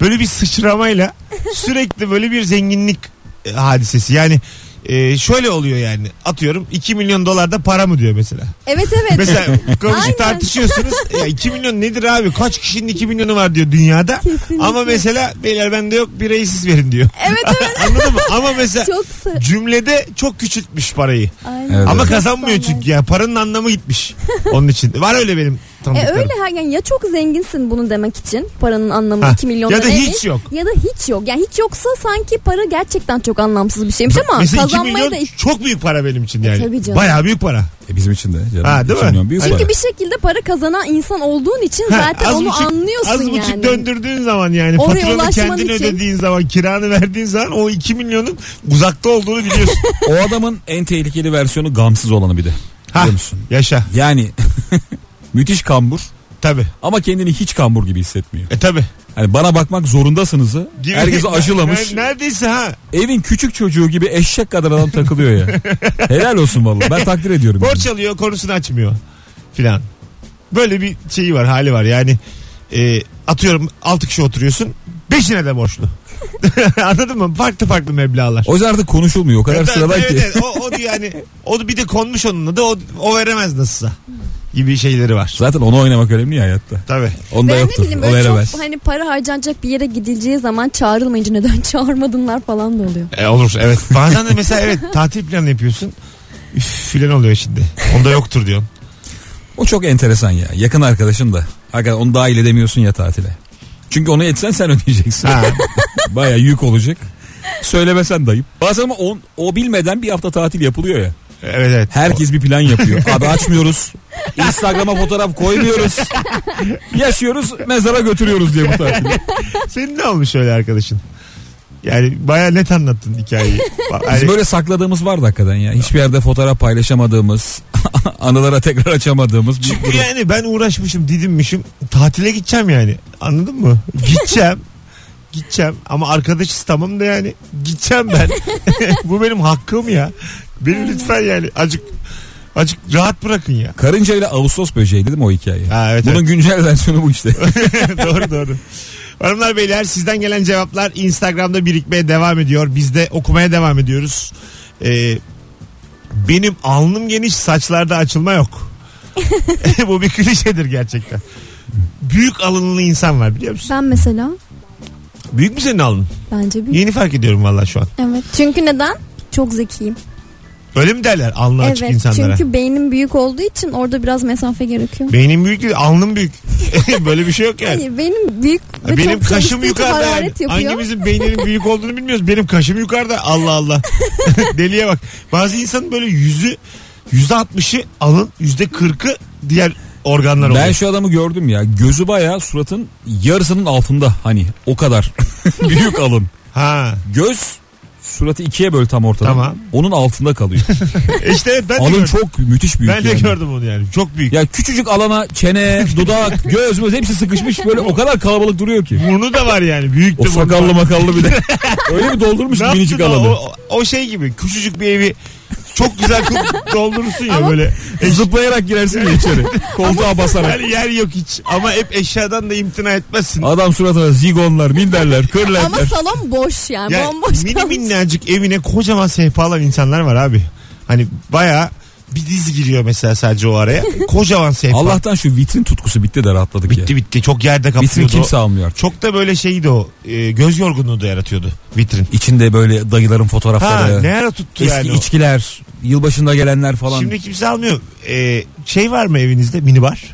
Speaker 2: Böyle bir
Speaker 3: <laughs>
Speaker 2: sıçramayla sürekli böyle bir zenginlik e, hadisesi. Yani e, şöyle oluyor yani atıyorum 2 milyon dolar da para mı diyor mesela.
Speaker 3: Evet
Speaker 2: <laughs>
Speaker 3: evet. <laughs>
Speaker 2: Mesela komşu
Speaker 3: Aynen.
Speaker 2: tartışıyorsunuz. Ya 2 milyon nedir abi? Kaç kişinin 2 milyonu var diyor dünyada.
Speaker 3: Kesinlikle.
Speaker 2: Ama mesela beyler bende yok birayı siz verin diyor.
Speaker 3: evet evet.
Speaker 2: Anladın mı? Ama mesela
Speaker 3: Çok sı-
Speaker 2: cümlede çok küçültmüş parayı.
Speaker 3: Aynen.
Speaker 4: Evet.
Speaker 2: Ama
Speaker 3: Çok
Speaker 2: kazanmıyor
Speaker 3: normal.
Speaker 2: çünkü ya. Paranın anlamı gitmiş. <laughs> Onun için. Var öyle benim
Speaker 3: E
Speaker 2: tanıdıklarım.
Speaker 3: öyle her yani ya çok zenginsin bunu demek için paranın anlamı
Speaker 2: Ha,
Speaker 3: 2 milyon
Speaker 2: ya da
Speaker 3: lira
Speaker 2: hiç
Speaker 3: değil.
Speaker 2: yok.
Speaker 3: Ya da hiç yok. Yani hiç yoksa sanki para gerçekten çok anlamsız bir şeymiş ama
Speaker 2: Mesela 2
Speaker 3: kazanmayı
Speaker 2: milyon
Speaker 3: da E,
Speaker 2: çok büyük para benim için yani.
Speaker 3: tabii canım.
Speaker 2: Bayağı büyük para.
Speaker 4: E bizim için de canım.
Speaker 2: Ha, değil mi?
Speaker 4: Bilmiyorum, büyük
Speaker 3: çünkü
Speaker 4: para.
Speaker 3: bir şekilde para kazanan insan olduğun için
Speaker 2: Ha,
Speaker 3: zaten
Speaker 2: az
Speaker 3: onu
Speaker 2: buçuk-
Speaker 3: anlıyorsun
Speaker 2: Az buçuk
Speaker 3: yani.
Speaker 2: döndürdüğün zaman yani
Speaker 3: Oraya
Speaker 2: faturanı
Speaker 3: ulaşman
Speaker 2: kendin
Speaker 3: için.
Speaker 2: ödediğin zaman kiranı verdiğin zaman o 2 milyonun uzakta olduğunu biliyorsun.
Speaker 4: <laughs> O adamın en tehlikeli versiyonu gamsız olanı bir de.
Speaker 2: ha,
Speaker 4: Biliyor musun?
Speaker 2: yaşa
Speaker 4: Yani <laughs> müthiş kambur
Speaker 2: tabii.
Speaker 4: ama kendini hiç kambur gibi hissetmiyor.
Speaker 2: E tabi.
Speaker 4: Hani bana bakmak zorundasınızı
Speaker 2: <laughs>
Speaker 4: herkesi aşılamış.
Speaker 2: Neredeyse ha.
Speaker 4: Evin küçük çocuğu gibi eşek kadar adam
Speaker 2: <laughs>
Speaker 4: takılıyor ya. Helal olsun vallahi ben takdir ediyorum.
Speaker 2: Borç alıyor konusunu açmıyor filan. Böyle bir şeyi var hali var yani. e, atıyorum 6 kişi oturuyorsun. Beşine de borçlu. <laughs> Anladın mı? Farklı farklı meblağlar.
Speaker 4: O yüzden artık konuşulmuyor o kadar
Speaker 2: Evet,
Speaker 4: sıradan
Speaker 2: evet,
Speaker 4: ki.
Speaker 2: evet. O, o da yani o da bir de konmuş onunla da o, o veremez nasılsa gibi şeyleri var.
Speaker 4: Zaten onu oynamak önemli ya hayatta.
Speaker 2: Tabii.
Speaker 4: Onda
Speaker 3: Ben ne
Speaker 4: yoktu.
Speaker 3: bileyim
Speaker 4: O
Speaker 3: böyle
Speaker 4: veremez.
Speaker 3: çok hani para harcanacak bir yere gidileceği zaman çağrılmayınca neden <laughs> çağırmadınlar falan da oluyor.
Speaker 2: E, olur evet. <laughs> Bazen de mesela evet tatil planı yapıyorsun. Üf filan oluyor şimdi. Onda yoktur diyorsun.
Speaker 4: O çok enteresan ya. Yakın arkadaşın da. Hakikaten onu dahil edemiyorsun ya tatile. Çünkü onu etsen sen <laughs> ödeyeceksin.
Speaker 2: Ha.
Speaker 4: Baya yük olacak. Söylemesen dayıp. Bazen ama on- o bilmeden bir hafta tatil yapılıyor ya.
Speaker 2: Evet evet.
Speaker 4: Herkes bir
Speaker 2: <laughs>
Speaker 4: plan yapıyor. Abi açmıyoruz. Instagram'a fotoğraf koymuyoruz. Yaşıyoruz mezara
Speaker 2: <laughs>
Speaker 4: götürüyoruz diye bu tatili.
Speaker 2: Senin ne olmuş öyle arkadaşın? Yani baya net anlattın
Speaker 4: <laughs>
Speaker 2: hikayeyi. Hani Ba-
Speaker 4: Biz
Speaker 2: yani
Speaker 4: böyle sakladığımız vardı hakikaten ya. Hiçbir yerde fotoğraf paylaşamadığımız, <laughs> anılara tekrar açamadığımız. bir
Speaker 2: Çünkü
Speaker 4: durum.
Speaker 2: yani ben uğraşmışım didinmişim tatile gideceğim yani anladın mı? Gideceğim gideceğim ama arkadaşız tamam da yani gideceğim ben. Bu benim hakkım ya. Beni lütfen yani acık acık rahat bırakın
Speaker 4: <laughs>
Speaker 2: ya.
Speaker 4: Karınca ile Ağustos böceği dedim o hikaye.
Speaker 2: Ha, evet,
Speaker 4: Bunun
Speaker 2: evet.
Speaker 4: güncel versiyonu bu işte.
Speaker 2: doğru doğru. Hanımlar beyler sizden gelen cevaplar Instagram'da birikmeye devam ediyor. Biz de okumaya devam ediyoruz. Ee, benim alnım geniş saçlarda açılma yok. <laughs> Bu bir klişedir gerçekten. Büyük alınlı insan var biliyor musun?
Speaker 3: Ben mesela
Speaker 2: Büyük mü senin alnın?
Speaker 3: bence büyük.
Speaker 2: Yeni fark ediyorum valla şu an.
Speaker 3: Evet. Çünkü neden? Çok zekiyim.
Speaker 2: Öyle mi derler alnı açık
Speaker 3: evet.
Speaker 2: insanlara?
Speaker 3: Çünkü beynim büyük olduğu için orada biraz mesafe gerekiyor.
Speaker 2: Beynim büyük değil alnım
Speaker 3: <laughs>
Speaker 2: büyük. <laughs> Böyle bir şey yok yani.
Speaker 3: Hayır, Hani benim büyük ve
Speaker 2: Benim
Speaker 3: Hani çok
Speaker 2: kaşım
Speaker 3: çalıştığı için
Speaker 2: yukarıda yani.
Speaker 3: hararet yapıyor.
Speaker 2: Hangimizin beyninin büyük olduğunu bilmiyoruz. Benim kaşım yukarıda. Allah
Speaker 3: <laughs>
Speaker 2: Allah. Deliye bak. Bazı insanın böyle yüzü yüzde altmışı alın yüzde kırkı diğer organlar oluyor.
Speaker 4: ben şu adamı gördüm ya. Gözü bayağı suratın yarısının altında. Hani o kadar. <laughs> Büyük alın.
Speaker 2: Ha.
Speaker 4: Göz suratı ikiye böl tam ortada.
Speaker 2: Tamam.
Speaker 4: Onun
Speaker 2: <laughs>
Speaker 4: altında kalıyor.
Speaker 2: İşte evet, ben de
Speaker 4: Alın
Speaker 2: gördüm.
Speaker 4: çok müthiş büyük.
Speaker 2: ben de
Speaker 4: yani.
Speaker 2: gördüm onu yani. Çok büyük.
Speaker 4: Ya küçücük alana çene,
Speaker 2: <laughs>
Speaker 4: dudak, göz göz hepsi sıkışmış böyle o kadar kalabalık duruyor ki.
Speaker 2: Burnu da var yani. Büyük
Speaker 4: O
Speaker 2: de burnu
Speaker 4: sakallı
Speaker 2: var.
Speaker 4: makallı
Speaker 2: <laughs>
Speaker 4: bir de. Öyle bir doldurmuş
Speaker 2: Ne
Speaker 4: ki
Speaker 2: yaptın
Speaker 4: minicik
Speaker 2: o-
Speaker 4: alanı.
Speaker 2: O, o şey gibi küçücük bir evi çok güzel kıl- <laughs> doldurursun ya
Speaker 3: Ama-
Speaker 2: böyle.
Speaker 4: <laughs> Zıplayarak girersin
Speaker 2: <laughs>
Speaker 4: ya içeri. Koltuğa basarak.
Speaker 2: Yani yer yok hiç ama hep eşyadan da imtina etmezsin.
Speaker 4: Adam suratına zigonlar, minderler,
Speaker 3: Ama
Speaker 4: kırlentler.
Speaker 3: salon boş yani.
Speaker 2: Yani
Speaker 3: Bomboş
Speaker 2: mini
Speaker 3: kalmış.
Speaker 2: minnacık evine kocaman sehpa alan insanlar var abi. Hani baya bir diz giriyor mesela sadece o
Speaker 3: <laughs>
Speaker 2: araya. Kocaman sehpa.
Speaker 4: Allah'tan şu vitrin tutkusu bitti de rahatladık ya.
Speaker 2: bitti bitti. Çok yerde
Speaker 4: Vitrin
Speaker 2: kaplıyordu.
Speaker 4: kimse almıyor artık.
Speaker 2: Çok da böyle şeydi o. e, göz yorgunluğu da yaratıyordu vitrin.
Speaker 4: İçinde böyle dayıların
Speaker 2: Ha
Speaker 4: fotoğrafları,
Speaker 2: ne ara tuttu
Speaker 4: eski
Speaker 2: yani o.
Speaker 4: içkiler, yılbaşında gelenler falan.
Speaker 2: Şimdi kimse almıyor. E, şey var mı evinizde minibar?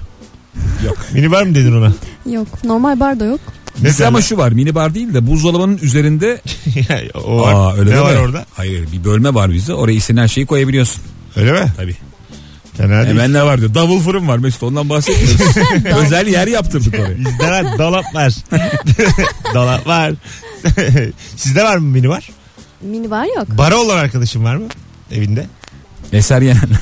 Speaker 4: Yok.
Speaker 2: Minibar mı dedin ona?
Speaker 3: Yok. Normal bar da yok.
Speaker 2: Ne
Speaker 4: Bizde ama şu var minibar değil de buzdolabının üzerinde
Speaker 2: derler? <laughs> o var.
Speaker 4: Aa, öyle
Speaker 2: ne
Speaker 4: deme.
Speaker 2: var orada?
Speaker 4: Hayır bir bölme var bizde. Oraya istediğin her şeyi koyabiliyorsun.
Speaker 2: Öyle mi?
Speaker 4: Tabii.
Speaker 2: Fena değil.
Speaker 4: Hemen ne var diyor. Davul fırın var Mesut ondan
Speaker 2: <laughs>
Speaker 4: bahsetmiyoruz. Özel yer yaptırdık oraya.
Speaker 2: Bizde var dolap var. <laughs> dolap var. <laughs> Sizde var mı minibar?
Speaker 3: Mini bar yok.
Speaker 2: Bara olan arkadaşın var mı evinde?
Speaker 4: Eser yenenler.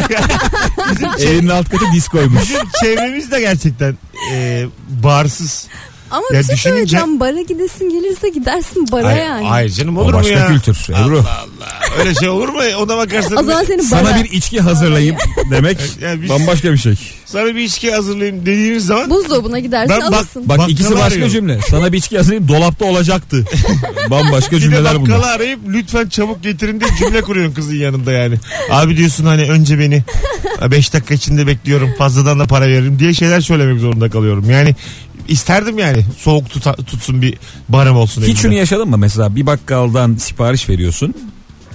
Speaker 4: <laughs> Evinin alt katı diskoymuş.
Speaker 2: Bizim çevremiz de gerçekten e, barsız.
Speaker 3: Ama
Speaker 2: Ya
Speaker 3: bir şey
Speaker 2: düşününce-
Speaker 3: söyleyeceğim. Bara gidesin gelirse gidersin bara
Speaker 2: Hayır,
Speaker 3: yani.
Speaker 2: hayır canım
Speaker 4: O
Speaker 2: olur mu
Speaker 4: başka
Speaker 2: ya?
Speaker 4: kültür, Ebru.
Speaker 2: Allah Allah. Öyle şey olur mu? Ona bakarsın.
Speaker 3: O zaman seni bara.
Speaker 4: Sana bir içki hazırlayayım demek
Speaker 2: <laughs> Ya biz-
Speaker 4: bambaşka bir şey.
Speaker 2: Sana bir içki hazırlayayım dediğimiz zaman
Speaker 3: Buzdolabına gidersin
Speaker 2: Ben bak-
Speaker 3: alırsın.
Speaker 4: Bak
Speaker 2: Bakkala
Speaker 4: ikisi başka
Speaker 2: arıyorum.
Speaker 4: cümle. Sana bir içki hazırlayayım
Speaker 2: <laughs>
Speaker 4: dolapta olacaktı. Bambaşka
Speaker 2: bir de
Speaker 4: cümleler
Speaker 2: bakkala
Speaker 4: bunlar.
Speaker 2: arayıp lütfen çabuk getirin diye cümle kuruyorsun kızın yanında yani. Abi diyorsun hani önce beni 5 dakika içinde bekliyorum fazladan da para veririm diye şeyler söylemek zorunda kalıyorum. Yani isterdim yani soğuk tuta- tutsun bir barım olsun.
Speaker 4: Hiç
Speaker 2: evimde.
Speaker 4: şunu yaşadın mı mesela bir bakkaldan sipariş veriyorsun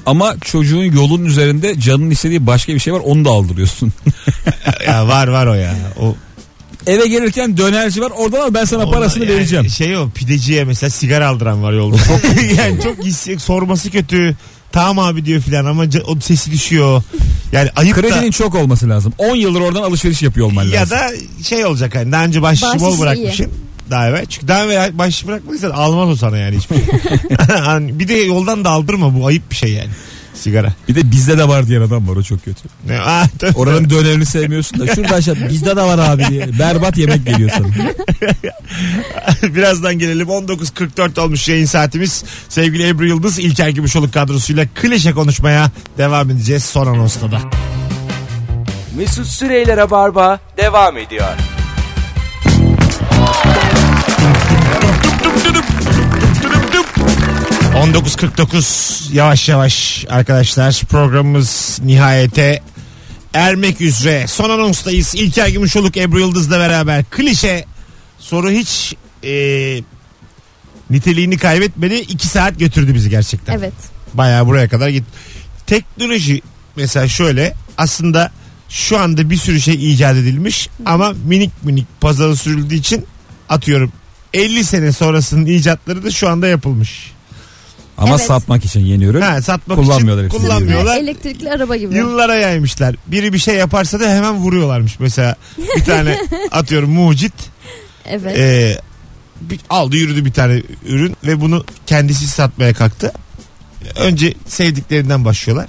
Speaker 4: ama çocuğun yolun üzerinde canın istediği başka bir şey var onu da aldırıyorsun. <laughs>
Speaker 2: ya var var o ya. O
Speaker 4: Eve gelirken dönerci var oradan al ben sana
Speaker 2: Onlar
Speaker 4: parasını
Speaker 2: yani
Speaker 4: vereceğim. <laughs>
Speaker 2: Şey o pideciye mesela sigara aldıran var yolda. <laughs> yani çok his- sorması kötü. Tamam abi diyor filan ama ca- o sesi düşüyor. Yani ayıp
Speaker 4: Kredinin çok olması lazım. 10 yıldır oradan alışveriş yapıyor
Speaker 2: da
Speaker 4: olman
Speaker 2: ya
Speaker 4: lazım.
Speaker 2: da şey olacak hani daha önce başlığı
Speaker 3: Bahşiş
Speaker 2: bol
Speaker 3: iyi.
Speaker 2: bırakmışsın. Daha evvel. Çünkü daha evvel başlık bırakmadıysan almaz o sana yani
Speaker 3: <laughs>
Speaker 2: hiçbir şey. Hani bir de yoldan da aldırma bu ayıp bir şey yani. Sigara.
Speaker 4: Bir de bizde de var diyen adam var o çok kötü.
Speaker 2: Ne- <laughs> Aa, tabii.
Speaker 4: Oranın dönerini sevmiyorsun da şurada aşağı bizde de var abi diye. Berbat yemek geliyor
Speaker 2: <laughs>
Speaker 4: sana.
Speaker 2: Birazdan gelelim. 19.44 olmuş yayın saatimiz. Sevgili Ebru Yıldız, İlker Gümüşoluk kadrosuyla klişe konuşmaya devam edeceğiz son anonsla da.
Speaker 1: Mesut Süreyler'e barba devam ediyor.
Speaker 2: Dup dup dup. Dup dup. 19.49 yavaş yavaş arkadaşlar programımız nihayete ermek üzere. Son anonstayız. İlker Gümüşoluk Ebru Yıldız'la beraber klişe soru hiç e, niteliğini kaybetmedi. 2 saat götürdü bizi gerçekten.
Speaker 3: Evet.
Speaker 2: Bayağı buraya kadar git. Teknoloji mesela şöyle aslında şu anda bir sürü şey icat edilmiş ama minik minik pazara sürüldüğü için atıyorum 50 sene sonrasının icatları da şu anda yapılmış.
Speaker 4: Ama
Speaker 3: Evet.
Speaker 4: satmak için yeni ürün.
Speaker 2: Ha, satmak
Speaker 4: Kullanmıyorlar
Speaker 2: için
Speaker 4: hepsini.
Speaker 2: kullanmıyorlar.
Speaker 3: Elektrikli araba gibi.
Speaker 2: Yıllara yaymışlar. Biri bir şey yaparsa da hemen vuruyorlarmış. Mesela bir
Speaker 3: <laughs>
Speaker 2: tane atıyorum mucit
Speaker 3: Evet.
Speaker 2: e, bir- aldı yürüdü bir tane ürün ve bunu kendisi satmaya kalktı. Önce sevdiklerinden başlıyorlar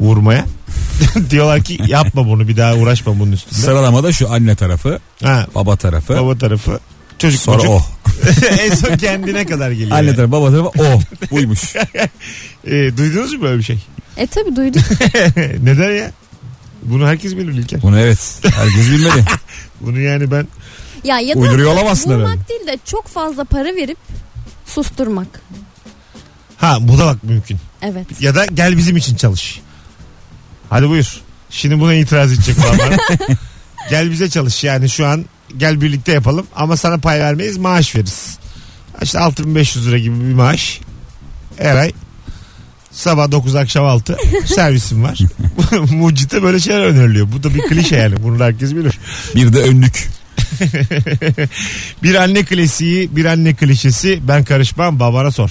Speaker 2: vurmaya. <laughs> Diyorlar ki yapma bunu bir daha uğraşma bunun üstünde.
Speaker 4: Sıralamada şu anne tarafı,
Speaker 2: Ha,
Speaker 4: baba tarafı,
Speaker 2: baba tarafı. Çocuk
Speaker 4: sonra
Speaker 2: çocuk.
Speaker 4: o.
Speaker 2: <laughs> en son kendine kadar geliyor.
Speaker 4: Anne tarafı baba tarafı
Speaker 2: <laughs>
Speaker 4: o. Buymuş.
Speaker 2: E, duydunuz mu böyle bir şey? <laughs>
Speaker 3: E tabi duyduk.
Speaker 2: Neden ya? Bunu herkes bilir İlker.
Speaker 4: Bunu evet.
Speaker 2: <laughs>
Speaker 4: Herkes bilmedi.
Speaker 2: Bunu yani ben
Speaker 3: Ya ya da
Speaker 4: Uyduruyor olamazsın herhalde.
Speaker 3: vurmak değil de çok fazla para verip susturmak.
Speaker 2: ha bu da bak mümkün.
Speaker 3: Evet.
Speaker 2: Ya da gel bizim için çalış. Hadi buyur. Şimdi buna itiraz edecek olan var mı? gel bize çalış yani şu an gel birlikte yapalım ama sana pay vermeyiz maaş veririz. İşte 6500 lira gibi bir maaş. Her ay sabah 9 akşam 6 servisim var. <laughs> Mucit'e böyle şeyler öneriliyor. Bu da bir klişe yani bunu da herkes bilir. <laughs>
Speaker 4: Bir de önlük.
Speaker 2: Bir anne klasiği bir anne klişesi ben karışmam babana sor.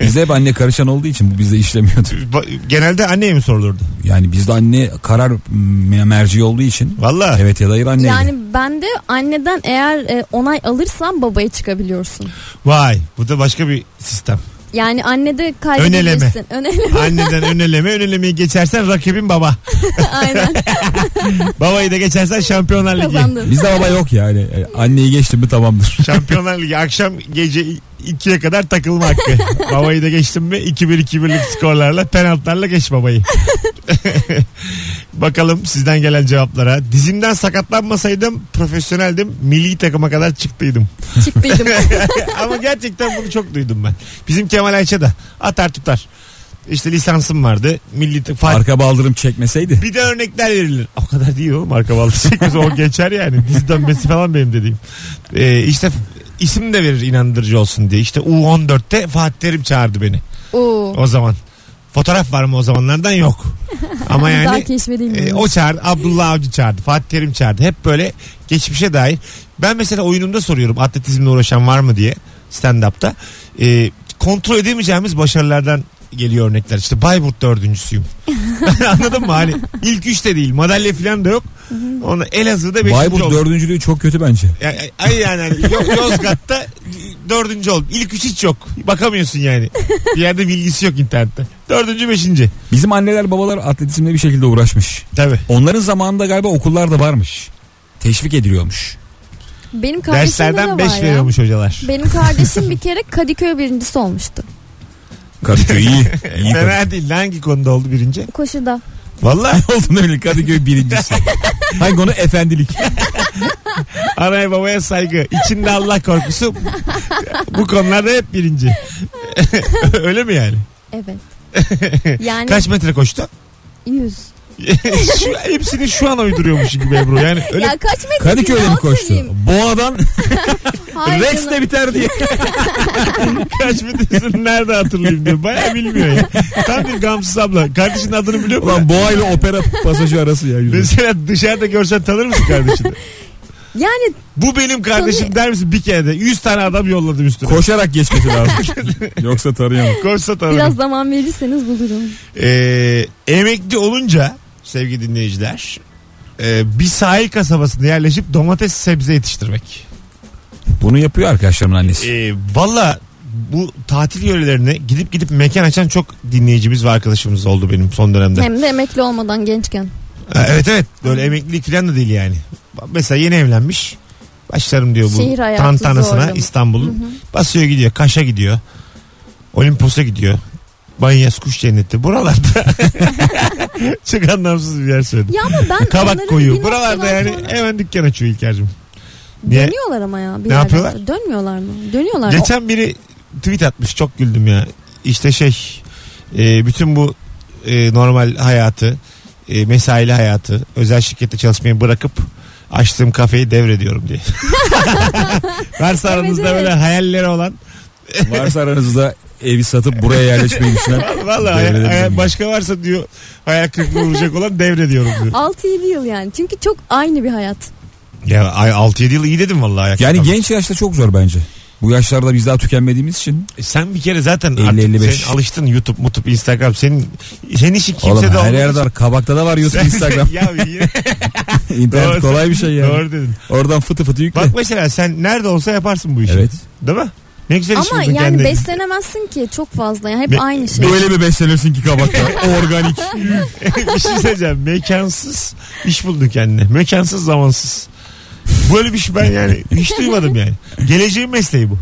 Speaker 4: Bizde hep anne karışan olduğu için bu bizde işlemiyordu.
Speaker 2: Ba- Genelde anneye mi sorulurdu?
Speaker 4: Yani bizde anne karar m- merci olduğu için.
Speaker 2: Valla.
Speaker 4: Evet ya da hayır anne.
Speaker 3: Yani ben de anneden eğer e, onay alırsan babaya çıkabiliyorsun.
Speaker 2: Vay bu da başka bir sistem.
Speaker 3: Yani annede kaybedebilirsin. Öneleme. <laughs>
Speaker 2: Anneden öneleme önelemeyi geçersen rakibin baba.
Speaker 3: Aynen
Speaker 2: Babayı da geçersen Şampiyonlar Ligi.
Speaker 3: kazandın.
Speaker 4: Bizde baba yok yani. E, Anneyi geçtim mi tamamdır.
Speaker 2: Şampiyonlar Ligi akşam gece 2'ye kadar takılma hakkı. babayı da geçtim mi 2-1 2-1'lik skorlarla penaltılarla geç babayı. Bakalım sizden gelen cevaplara. Dizimden sakatlanmasaydım profesyoneldim. Milli takıma kadar çıktıydım.
Speaker 3: Çıktıydım.
Speaker 2: <laughs> Ama gerçekten bunu çok duydum ben. Bizim Kemal Ayça da atar tutar. İşte lisansım vardı. Milli takım.
Speaker 4: Arka baldırım çekmeseydi.
Speaker 2: Bir de örnekler verilir. O kadar değil oğlum arka bağlı çekmesi o geçer yani. Dizi dönmesi falan benim dediğim. Ee, işte isim de verir inandırıcı olsun diye. İşte U14'te Fatih Terim çağırdı beni
Speaker 3: Oo.
Speaker 2: o zaman. Fotoğraf var mı o zamanlardan yok. Ama
Speaker 3: <laughs> Daha
Speaker 2: yani e,
Speaker 3: keşfedilmiyor.
Speaker 2: o çağırdı Abdullah Avcı çağırdı Fatih Terim çağırdı. Hep böyle geçmişe dair. Ben mesela oyunumda soruyorum atletizmle uğraşan var mı diye stand-up'ta. Ee, kontrol edemeyeceğimiz başarılardan geliyor örnekler. İşte Bayburt dördüncüsüyüm. <laughs> Anladın mı? Hani ilk üçte değil. Madalya falan da yok. Onu Elazığ'da beşinci
Speaker 4: Bayburt
Speaker 2: oldum.
Speaker 4: dördüncülüğü çok kötü bence.
Speaker 2: Ya- ya- Ay yani hani Yo- Yozgat'ta dördüncü oldum. İlk üç hiç yok. Bakamıyorsun yani. Bir yerde bilgisi yok internette. Dördüncü beşinci.
Speaker 4: Bizim anneler babalar atletizmle bir şekilde uğraşmış.
Speaker 2: Tabii.
Speaker 4: Onların zamanında galiba okullar da varmış. Teşvik ediliyormuş.
Speaker 3: Benim kardeşimde de
Speaker 2: Derslerden
Speaker 3: var
Speaker 2: beş
Speaker 3: ya.
Speaker 2: veriyormuş hocalar.
Speaker 3: Benim kardeşim bir kere Kadıköy birincisi olmuştu.
Speaker 4: Kadıköy
Speaker 2: <laughs>
Speaker 4: iyi. iyi Kadıköy.
Speaker 2: Fena değil. lan, Hangi konuda oldu birinci?
Speaker 3: Koşuda.
Speaker 2: Vallahi
Speaker 4: Olduğunu bilin
Speaker 2: <laughs>
Speaker 4: Kadıköy birincisi. Hangi konu? Efendilik.
Speaker 2: anaya babaya saygı. İçinde Allah korkusu. Bu konularda hep birinci. <laughs> Öyle mi yani? <laughs>
Speaker 3: Evet. Yani
Speaker 2: Kaç metre
Speaker 3: <laughs>
Speaker 2: koştu?
Speaker 3: 100.
Speaker 2: şu, hepsini şu an uyduruyormuş gibi Ebru. Yani öyle
Speaker 3: Ya kaç metre?
Speaker 4: Kadıköy'de mi
Speaker 3: Yalan
Speaker 4: koştu?
Speaker 3: söyleyeyim.
Speaker 4: Boğa'dan
Speaker 2: E,
Speaker 3: Hayır
Speaker 4: Rex'te
Speaker 3: canım.
Speaker 4: biter diye.
Speaker 2: kaç metresini nerede hatırlayayım diye. Baya bilmiyor ya. Tam bir gamsız abla. Kardeşinin adını biliyor musun?
Speaker 4: <laughs> Ulan Boğa ile opera pasajı arası ya. yürü.
Speaker 2: Mesela dışarıda görsen tanır mısın kardeşini?
Speaker 3: Yani
Speaker 2: Bu benim kardeşim
Speaker 3: Tanı-
Speaker 2: der misin bir kere de? 100 tane adam yolladım üstüne.
Speaker 4: Koşarak
Speaker 2: <laughs>
Speaker 4: geçmesi lazım. Yoksa tarayamam.
Speaker 2: Koşsa tanırım.
Speaker 3: biraz zaman verirseniz bulurum.
Speaker 2: Ee, emekli olunca sevgili dinleyiciler e, bir sahil kasabasında yerleşip domates sebze yetiştirmek.
Speaker 4: Bunu yapıyor arkadaşlarımın annesi.
Speaker 2: Ee, Valla bu tatil yörelerine gidip gidip mekan açan çok dinleyicimiz ve arkadaşımız oldu benim son dönemde.
Speaker 3: Hem de emekli olmadan gençken.
Speaker 2: Ha, Evet evet böyle emeklilik falan da değil yani. Mesela yeni evlenmiş. Başlarım diyor bu
Speaker 3: Şehir hayatı
Speaker 2: tantanasına
Speaker 3: zorlu.
Speaker 2: İstanbul'un. Basıyor gidiyor Kaş'a gidiyor. Olimpos'a gidiyor. Banyas kuş cenneti buralarda.
Speaker 3: <laughs>
Speaker 2: <laughs> Çok anlamsız bir yer söyledim.
Speaker 3: Ya ama
Speaker 2: <laughs>
Speaker 3: ben
Speaker 2: Kabak
Speaker 3: onların bir
Speaker 2: koyu.
Speaker 3: noktadan
Speaker 2: Buralarda yani
Speaker 3: sonra
Speaker 2: hemen dükkan açıyor İlker'cim. Niye?
Speaker 3: Dönüyorlar ama ya. Bir
Speaker 2: Ne
Speaker 3: yerden
Speaker 2: yapıyorlar?
Speaker 3: sonra. Dönmüyorlar mı? Dönüyorlar.
Speaker 2: Geçen biri tweet atmış çok güldüm ya. İşte şey e, bütün bu e, normal hayatı e, mesaili hayatı özel şirkette çalışmayı bırakıp açtığım kafeyi devrediyorum
Speaker 3: <laughs>
Speaker 2: diye. Varsa
Speaker 3: Evet,
Speaker 2: aranızda
Speaker 3: evet.
Speaker 2: böyle hayalleri olan
Speaker 4: Varsa aranızda evi satıp buraya yerleşmeyi düşünen.
Speaker 2: <laughs> valla hay-
Speaker 4: Devredebilirim
Speaker 2: hay-
Speaker 4: yani.
Speaker 2: başka varsa diyor hayal kırıklığı vuracak olan devrediyorum diyor.
Speaker 3: 6-7 yıl yani. Çünkü çok aynı bir hayat.
Speaker 2: Ya ay 6-7 yıl iyi dedim valla. ayak
Speaker 4: Yani
Speaker 2: kırıklığı.
Speaker 4: genç yaşta çok zor bence. Bu yaşlarda biz daha tükenmediğimiz için.
Speaker 2: E, sen bir kere zaten
Speaker 4: 50,
Speaker 2: artık
Speaker 4: 55.
Speaker 2: sen alıştın YouTube, YouTube, Instagram. Senin senin işi kimse
Speaker 4: Oğlum
Speaker 2: de
Speaker 4: her
Speaker 2: olmadığı
Speaker 4: yerde
Speaker 2: için-
Speaker 4: var. Kabakta da var YouTube, Instagram.
Speaker 2: <laughs> ya
Speaker 4: <laughs>
Speaker 2: yine
Speaker 4: İnternet
Speaker 2: Doğru.
Speaker 4: kolay bir şey yani.
Speaker 2: doğru dedin.
Speaker 4: Oradan fıtı fıtı yükle.
Speaker 2: Bak mesela sen nerede olsa yaparsın bu işi.
Speaker 4: Evet.
Speaker 2: Değil mi? Ne güzel iş
Speaker 3: ama
Speaker 2: buldun
Speaker 3: yani
Speaker 2: kendine. <laughs>
Speaker 3: beslenemezsin ki çok fazla. Yani hep
Speaker 2: Be-
Speaker 3: aynı şey.
Speaker 4: <laughs> Böyle mi beslenirsin ki
Speaker 2: <laughs>
Speaker 4: kabakta? Organik.
Speaker 2: bir şey söyleyeceğim. Mekansız iş buldun kendine. Mekansız zamansız. Böyle bir şey ben yani
Speaker 3: <laughs>
Speaker 2: hiç duymadım yani. Geleceğin mesleği bu.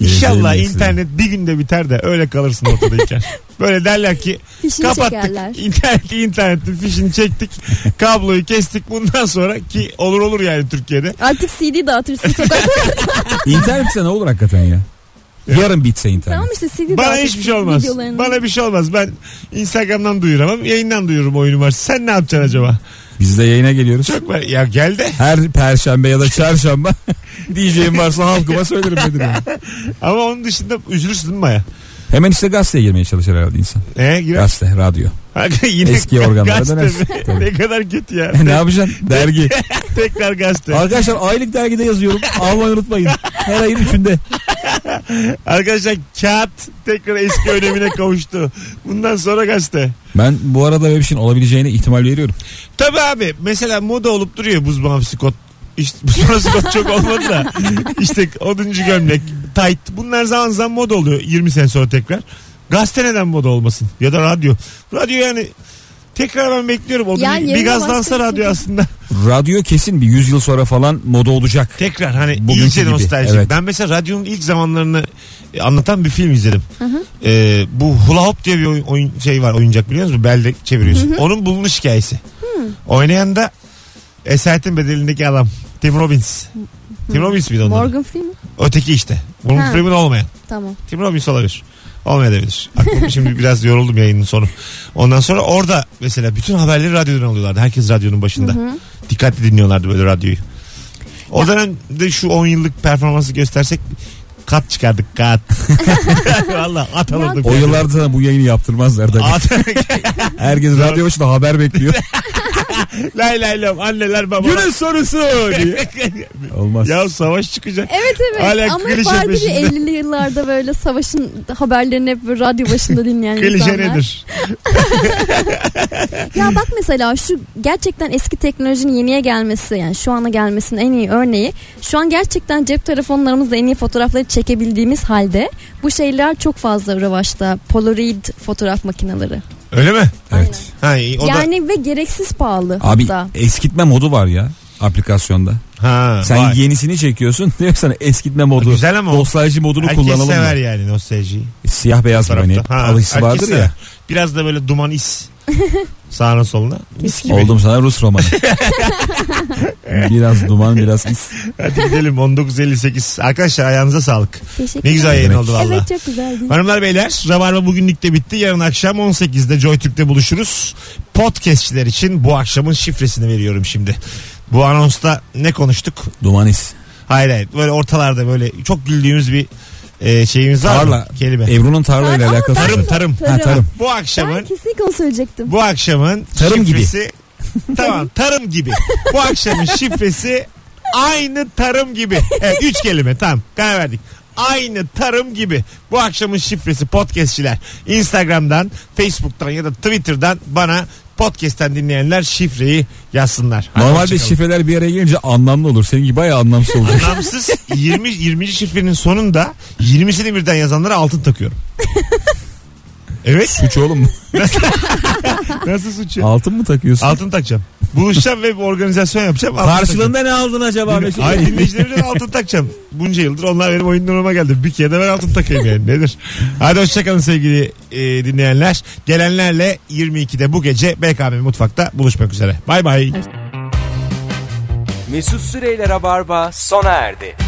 Speaker 2: İnşallah
Speaker 4: Geleceğin
Speaker 2: internet bir günde biter de öyle kalırsın
Speaker 3: <laughs>
Speaker 2: ortadayken. Böyle derler ki
Speaker 3: Fişini
Speaker 2: kapattık <laughs>
Speaker 3: çekerler.
Speaker 2: interneti internetin fişini çektik kabloyu kestik bundan sonra ki olur olur yani Türkiye'de.
Speaker 3: Artık CD
Speaker 2: <laughs>
Speaker 3: dağıtırsın sokakta.
Speaker 4: İnternetse ne olur hakikaten ya? Yarın bitse internet.
Speaker 3: tamam işte CD
Speaker 2: Bana
Speaker 3: dağıtırsın
Speaker 2: hiçbir şey olmaz.
Speaker 3: videolarını.
Speaker 2: Bana bir şey olmaz. Ben Instagram'dan duyuramam. Yayından duyururum oyunu var. Sen ne yapacaksın acaba?
Speaker 4: Biz de yayına geliyoruz.
Speaker 2: Çok var. Ya gel de.
Speaker 4: Her perşembe ya da çarşamba diyeceğim varsa halkıma söylerim dedim. yani.
Speaker 2: Ama onun dışında üzülürsün değil mi Maya?
Speaker 4: Hemen işte gazeteye girmeye çalışır herhalde insan.
Speaker 2: Ee, girer.
Speaker 4: Gazete, radyo.
Speaker 2: <laughs> Yine
Speaker 4: Eski organlara
Speaker 2: gazete
Speaker 4: dönersin.
Speaker 2: <laughs>
Speaker 4: E,
Speaker 2: mi? ne kadar kötü ya.
Speaker 4: ne yapacaksın? Dergi.
Speaker 2: Tekrar gazete.
Speaker 4: Arkadaşlar aylık dergide yazıyorum. Almayı unutmayın. Her ayın üçünde.
Speaker 2: Arkadaşlar kağıt tekrar eski önemine kavuştu. Bundan sonra gazete.
Speaker 4: Ben bu arada böyle bir şeyin olabileceğine ihtimal veriyorum.
Speaker 2: Tabii abi mesela moda olup duruyor buz mavisi kot. İşte <laughs> buz mavisi kot çok olmadı da. İşte oduncu gömlek, tight. Bunlar zaman zaman moda oluyor 20 sene sonra tekrar. Gazete neden moda olmasın? Ya da radyo. Radyo yani tekrar ben bekliyorum. Oduncu,
Speaker 3: Yani
Speaker 2: bir
Speaker 3: yerine
Speaker 2: gazlansa
Speaker 3: başka bir
Speaker 2: radyo
Speaker 3: şey.
Speaker 2: aslında.
Speaker 4: Radyo kesin bir 100 yıl sonra falan moda olacak.
Speaker 2: Tekrar hani
Speaker 4: Bugünkü
Speaker 2: iyice
Speaker 4: gibi,
Speaker 2: nostaljik.
Speaker 4: evet.
Speaker 2: Ben mesela radyonun ilk zamanlarını e, anlatan bir film izledim. Ee, bu hula hop diye bir oyun, oyun- şey var oyuncak biliyor musunuz? Belde çeviriyorsun. Onun bulunuş hikayesi. Oynayan da Esaretin Bedeli'ndeki adam Tim Robbins. Tim Robbins miydi onun? adı?
Speaker 3: Morgan Freeman.
Speaker 2: Öteki işte. Morgan
Speaker 3: Ha.
Speaker 2: Freeman olmayan.
Speaker 3: Tamam.
Speaker 2: Tim Robbins olabilir. Olmayabilir. Aklım <laughs> şimdi biraz yoruldum yayının sonu. Ondan sonra orada mesela bütün haberleri radyodan alıyorlardı. Herkes radyonun başında. Dikkatli dinliyorlardı böyle radyoyu. O dönemde şu 10 yıllık performansı göstersek kat çıkardık kat. Valla at alırdık.
Speaker 4: O yıllarda sana bu yayını yaptırmazlar
Speaker 2: <laughs>
Speaker 4: tabii.
Speaker 2: At.
Speaker 4: Herkes radyo başında haber bekliyor.
Speaker 2: lay lay lay anneler baba.
Speaker 4: Günün sorusu diye. Olmaz.
Speaker 2: ya savaş çıkacak.
Speaker 3: Evet evet
Speaker 2: Hala
Speaker 3: ama hep
Speaker 2: klişe
Speaker 3: vardır ya
Speaker 2: peşinde.
Speaker 3: 50'li yıllarda böyle savaşın haberlerini hep böyle radyo başında dinleyen
Speaker 2: Klişe
Speaker 3: insanlar.
Speaker 2: nedir?
Speaker 3: Ya bak mesela şu gerçekten eski teknolojinin yeniye gelmesi yani şu ana gelmesinin en iyi örneği. Şu an gerçekten cep telefonlarımızla en iyi fotoğrafları çekebildiğimiz halde bu şeyler çok fazla revaçta. Polaroid fotoğraf makineleri.
Speaker 2: Öyle mi?
Speaker 4: Evet.
Speaker 2: Ha, iyi, o da,
Speaker 3: yani ve gereksiz pahalı
Speaker 4: Abi
Speaker 3: hatta.
Speaker 4: eskitme modu var ya aplikasyonda.
Speaker 2: ha,
Speaker 4: Sen
Speaker 2: vay.
Speaker 4: yenisini çekiyorsun <laughs> diyor sana eskitme modu.
Speaker 2: Güzel ama o.
Speaker 4: Nostalji modunu
Speaker 2: Herkes
Speaker 4: kullanalım
Speaker 2: sever
Speaker 4: mı?
Speaker 2: yani nostaljiyi.
Speaker 4: Siyah beyaz gibi
Speaker 2: tarafta.
Speaker 4: hani
Speaker 2: Ha,
Speaker 4: alıcısı
Speaker 2: herkes
Speaker 4: vardır
Speaker 2: sever.
Speaker 4: ya.
Speaker 2: Biraz da böyle duman
Speaker 4: <laughs>
Speaker 2: is. Sağına soluna. Mis gibi.
Speaker 4: Oldum sana
Speaker 2: <laughs>
Speaker 4: Rus romanı. biraz duman biraz is.
Speaker 2: Hadi gidelim 1958. Arkadaşlar ayağınıza sağlık.
Speaker 3: Teşekkür
Speaker 2: Ne güzel
Speaker 4: Ne
Speaker 2: yayın
Speaker 4: demek.
Speaker 2: oldu valla.
Speaker 3: Evet çok güzeldi.
Speaker 2: Hanımlar beyler Rabarba bugünlük de bitti. Yarın akşam 18'de JoyTürk'te buluşuruz. Podcastçiler için bu akşamın şifresini veriyorum şimdi. Bu anonsta ne konuştuk?
Speaker 4: Duman is.
Speaker 2: Hayır hayır böyle ortalarda böyle çok güldüğümüz bir e, şeyimiz var mı?
Speaker 4: Tarla.
Speaker 2: Kelime.
Speaker 4: Ebru'nun tarlayla
Speaker 3: Aa,
Speaker 4: alakası
Speaker 3: ben-
Speaker 2: tarım
Speaker 4: var.
Speaker 2: tarım.
Speaker 4: Ha, tarım.
Speaker 2: Bu
Speaker 3: Ben
Speaker 2: akşamın
Speaker 3: kesinlikle onu söyleyecektim.
Speaker 2: Bu akşamın
Speaker 4: Tarım gibi.
Speaker 2: şifresi
Speaker 4: <laughs>
Speaker 2: tamam tarım gibi. Bu akşamın şifresi aynı tarım gibi. Evet üç kelime tamam karar verdik. Aynı tarım gibi. Bu akşamın şifresi podcastçiler. Instagram'dan, Facebook'tan ya da Twitter'dan bana podcast'ten dinleyenler şifreyi yazsınlar. Hadi
Speaker 4: Normalde
Speaker 2: hoşçakalın.
Speaker 4: şifreler bir araya gelince anlamlı olur. Seninki bayağı
Speaker 2: <laughs>
Speaker 4: anlamsız olacak.
Speaker 2: Anlamsız 20 20. şifrenin sonunda 20'sini birden yazanlara altın
Speaker 4: <laughs>
Speaker 2: takıyorum. Evet.
Speaker 4: Suç oğlum. mu?
Speaker 2: Nasıl suç ya?
Speaker 4: Altın mı takıyorsun?
Speaker 2: Altın takacağım. Buluşacağım ve bir organizasyon yapacağım. Altın takacağım.
Speaker 4: Karşılığında ne aldın acaba Mesut?
Speaker 2: Ay dinleyicilerimden altın takacağım. Bunca yıldır onlar benim oyun numarama geldi. Bir kere de ben altın takayım yani nedir? Hadi hoşçakalın sevgili e, dinleyenler. Gelenlerle 22'de bu gece BKM Mutfak'ta buluşmak üzere. Bay bay.
Speaker 1: Mesut Süreyler'e barba sona erdi.